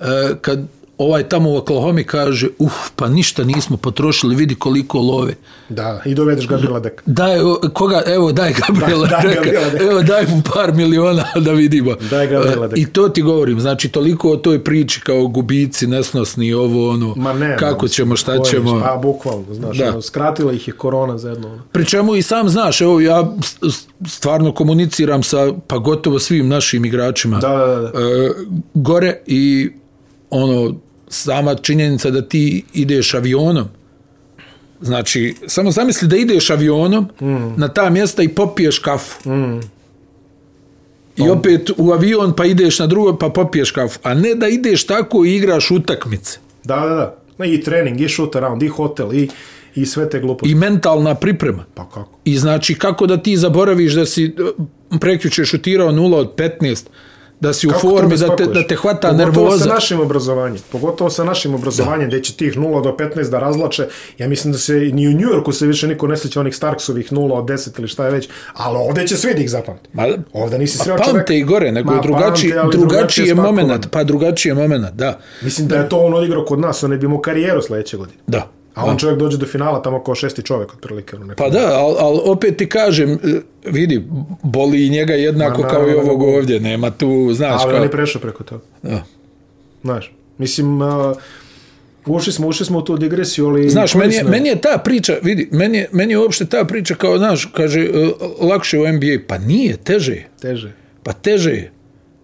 B: e, kad ovaj tamo u Oklahoma kaže uf, pa ništa nismo potrošili, vidi koliko love.
A: Da, i dovedeš Gabriela Deka.
B: Daj, o, koga, evo, daj Gabriela,
A: Da,
B: da,
A: daj
B: daj
A: Gabriela Deka.
B: evo, daj mu par miliona da vidimo.
A: Daj Gabriela
B: E,
A: Deka.
B: I to ti govorim, znači, toliko o toj priči kao gubici, nesnosni, ovo, ono,
A: Ma ne.
B: kako
A: no,
B: ćemo, šta
A: to je,
B: ćemo.
A: A, pa bukvalno, znaš,
B: Da.
A: ono, skratila ih je korona za jedno. ono.
B: Pri čemu i sam znaš, evo ja s- stvarno komuniciram sa pa gotovo svim našim igračima
A: Da, da, da.
B: E, gore i ono sama činjenica da ti ideš avionom znači samo zamisli da ideš avionom mm. na ta mjesta i popiješ kafu mm. i
A: Pa-
B: opet u avion pa ideš na drugo pa popiješ kafu a ne da ideš tako i igraš utakmice
A: Da, da, da. Ma I trening, i shoot around, i hotel, i, i sve te gluposti.
B: i mentalna priprema
A: Pa kako?
B: I znači kako da ti zaboraviš da si e, prekjuče šutirao 0 od 15, da si
A: Kako
B: u
A: to
B: formi,
A: ne
B: da te,
A: spakuješ?
B: da te hvata
A: Pogotovo sa
B: nervoza.
A: našim obrazovanjem. Pogotovo sa našim obrazovanjem, gdje će tih 0 do 15 da razlače. Ja mislim da se ni u Njujorku se više niko ne sjeća onih Starksovih 0 od 10 ili šta je već, ali ovdje će svi da ih zapamti.
B: Ma,
A: Ovdje nisi sreo čoveka.
B: Pa pamte i gore, nego
A: Ma,
B: je drugačiji,
A: pamte, ali
B: drugačiji je
A: spakovan.
B: moment, pa drugačiji je moment, da.
A: Mislim da je to on odigrao kod nas, on ne bi mu karijeru sljedeće godine.
B: da.
A: A on čovjek dođe do finala tamo kao šesti čovjek otprilike. ono, neko.
B: Pa da, ali al opet ti kažem, e, vidi, boli i njega jednako
A: Ma,
B: kao i
A: naravno,
B: ovog ovdje, nema tu, znaš,
A: Ali on
B: kao,
A: je prešao preko toga.
B: Da.
A: Znaš, mislim, uh, ušli smo, ušli smo u tu digresiju, ali...
B: Znaš, meni je,
A: korisno
B: meni je ta priča, vidi, meni je, meni je uopšte ta priča kao, znaš, kaže, e, lakše u NBA, pa nije, teže je.
A: Teže.
B: Pa teže je.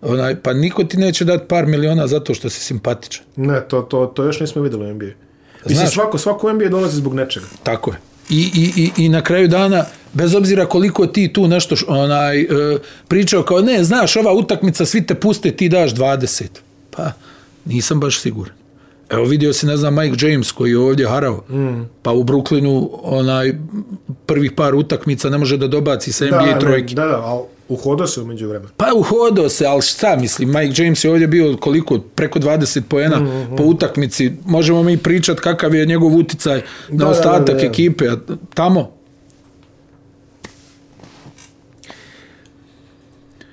B: Onaj, pa niko ti neće dati par miliona zato što si simpatičan.
A: Ne, to, to, to još nismo videli u NBA. Mislim,
B: Znaš-
A: svako, svako NBA dolazi zbog nečega.
B: Tako je. I, i, i, I na kraju dana, bez obzira koliko ti tu nešto š- onaj, e, pričao kao, ne, znaš, ova utakmica, svi te puste, ti daš 20. Pa, nisam baš siguran. Evo vidio si, ne znam, Mike James koji je ovdje harao. Mm. Pa u Brooklynu onaj prvih par utakmica ne može da dobaci sa NBA
A: ne,
B: trojke.
A: Da, da, ali uhodao se umeđu vremena.
B: Pa uhodao se, ali šta mislim, Mike James je ovdje bio koliko, preko 20 poena mm -hmm. po utakmici. Možemo mi pričati kakav je njegov uticaj na
A: da,
B: ostatak
A: da, da.
B: ekipe, a tamo.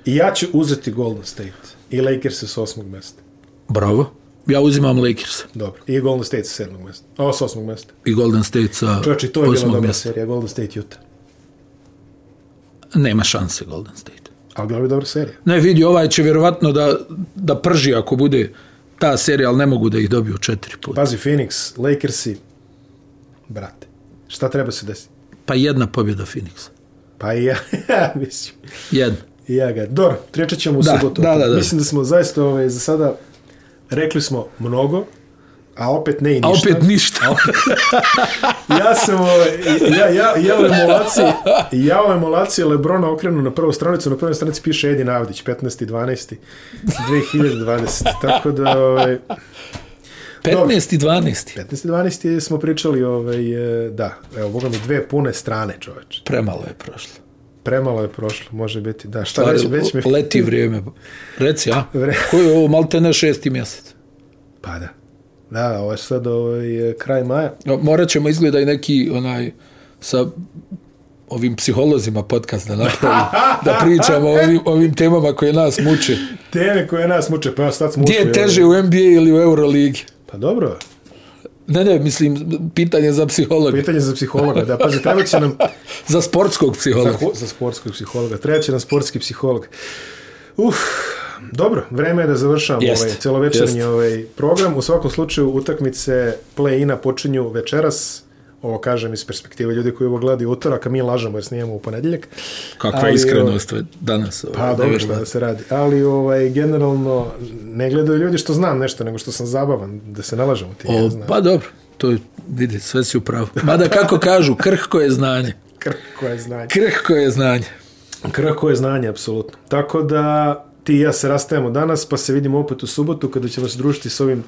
A: I ja ću uzeti Golden State i Lakers s osmog mesta.
B: Bravo. Ja uzimam Lakers
A: Dobro. I Golden State sa sedmog mesta. O, s osmog mesta.
B: i Golden State sa
A: Čovječe, i to je bila
B: osmog
A: dobra
B: mjesta.
A: serija, Golden State Utah.
B: Nema šanse Golden State.
A: Ali bila bi dobra serija.
B: Ne vidi, ovaj će vjerovatno da, da prži ako bude ta serija, ali ne mogu da ih dobiju četiri puta.
A: Pazi, Phoenix, Lakersi, brate, šta treba se desiti?
B: Pa jedna pobjeda Phoenixa.
A: Pa i ja, <laughs> ja mislim,
B: Jedna.
A: i ja ga. Dobro, trečat ćemo u
B: Da,
A: subotu.
B: da, da, da.
A: Mislim da smo zaista ovaj, za sada rekli smo mnogo, a opet ne i
B: A
A: ništa.
B: opet ništa.
A: <laughs>
B: <laughs>
A: Ja sam, ovaj, ja, ja, ja u emulaciji, ja u emulaciji Lebrona okrenu na prvu stranicu, na prvoj stranici piše Edin Avdić, 15.12.
B: <laughs>
A: 2020. Tako da, ovaj,
B: 15 i 12.
A: 15.12. smo pričali, ovaj, eh, da, evo, boga mi, dve pune strane, čoveče.
B: Premalo je prošlo.
A: Premalo je prošlo, može biti, da. Šta
B: Stvari,
A: već, Pa, već mi...
B: Leti vrijeme. Reci, a?
A: Vre-
B: Koji je ovo maltene šesti mjesec?
A: <laughs> Pa da. Da, ovo je sad ovaj, eh, kraj maja.
B: No, morat ćemo izgleda i neki onaj sa ovim psiholozima podcast da napravimo,
A: <laughs>
B: da pričamo o ovim, ovim temama koje nas muče.
A: Teme koje nas muče, pa evo sad smo
B: Gdje
A: ušli,
B: je
A: ovaj.
B: teže u NBA ili u Euroligi?
A: Pa dobro,
B: Ne, ne, mislim, pitanje za psihologa,
A: pitanje za psihologa, da, pazi, treba će
B: <laughs>
A: nam...
B: za sportskog
A: Za,
B: psihologa.
A: ho- za sportskog psihologa, treba će nam sportski psiholog. Uf, Dobro, vreme je da završamo
B: Jest.
A: ovaj celovečernji
B: Jest.
A: ovaj program. U svakom slučaju utakmice play-ina počinju večeras. Ovo kažem iz perspektive ljudi koji ovo gledaju utorak, a mi lažemo jer snijemo u ponedeljak.
B: Kakva
A: Ali,
B: iskrenost je danas. ovaj,
A: Pa dobro šta da se radi. Ali ovaj, generalno ne gledaju ljudi što znam nešto, nego što sam zabavan, da se ne lažemo ti. ja
B: O,
A: znam.
B: pa dobro, to je, vidi, sve si u pravu. Mada kako kažu, krhko je znanje.
A: Krhko je znanje.
B: Krhko je znanje.
A: Krhko je znanje, apsolutno. Tako da ti i ja se rastajemo danas, pa se vidimo opet u subotu kada ćemo se družiti s ovim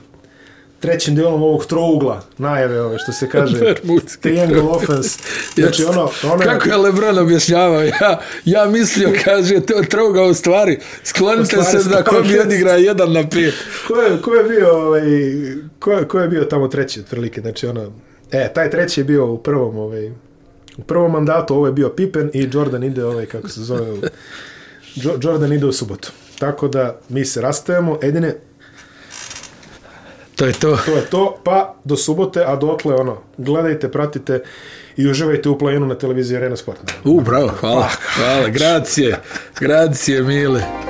A: trećim delom ovog trougla, najave ove, što se kaže,
B: <laughs> Bermudski
A: triangle offense. Znači,
B: Jeste.
A: ono, ono je,
B: Kako je Lebron objašnjavao? Ja, ja
A: <laughs>
B: mislio, kaže, to je troga u stvari. Sklonite
A: U stvari,
B: se da ko mi
A: sklonite
B: odigra jedan na pet.
A: ko, je, ko je bio, ovaj, ko, je, ko je bio tamo treći, otprilike, znači, ono, e, taj treći je bio u prvom, ovaj, u prvom mandatu, ovo je bio Pippen i Jordan ide, ovaj, kako se zove, u- Jo- Jordan ide u subotu. Tako da mi se rastajemo, jedine,
B: To je to.
A: To je to, pa do subote, a dotle ono, gledajte, pratite i uživajte u play na televiziji Arena Sport.
B: U, bravo, hvala. Hvala, gracije. Gracije, mile.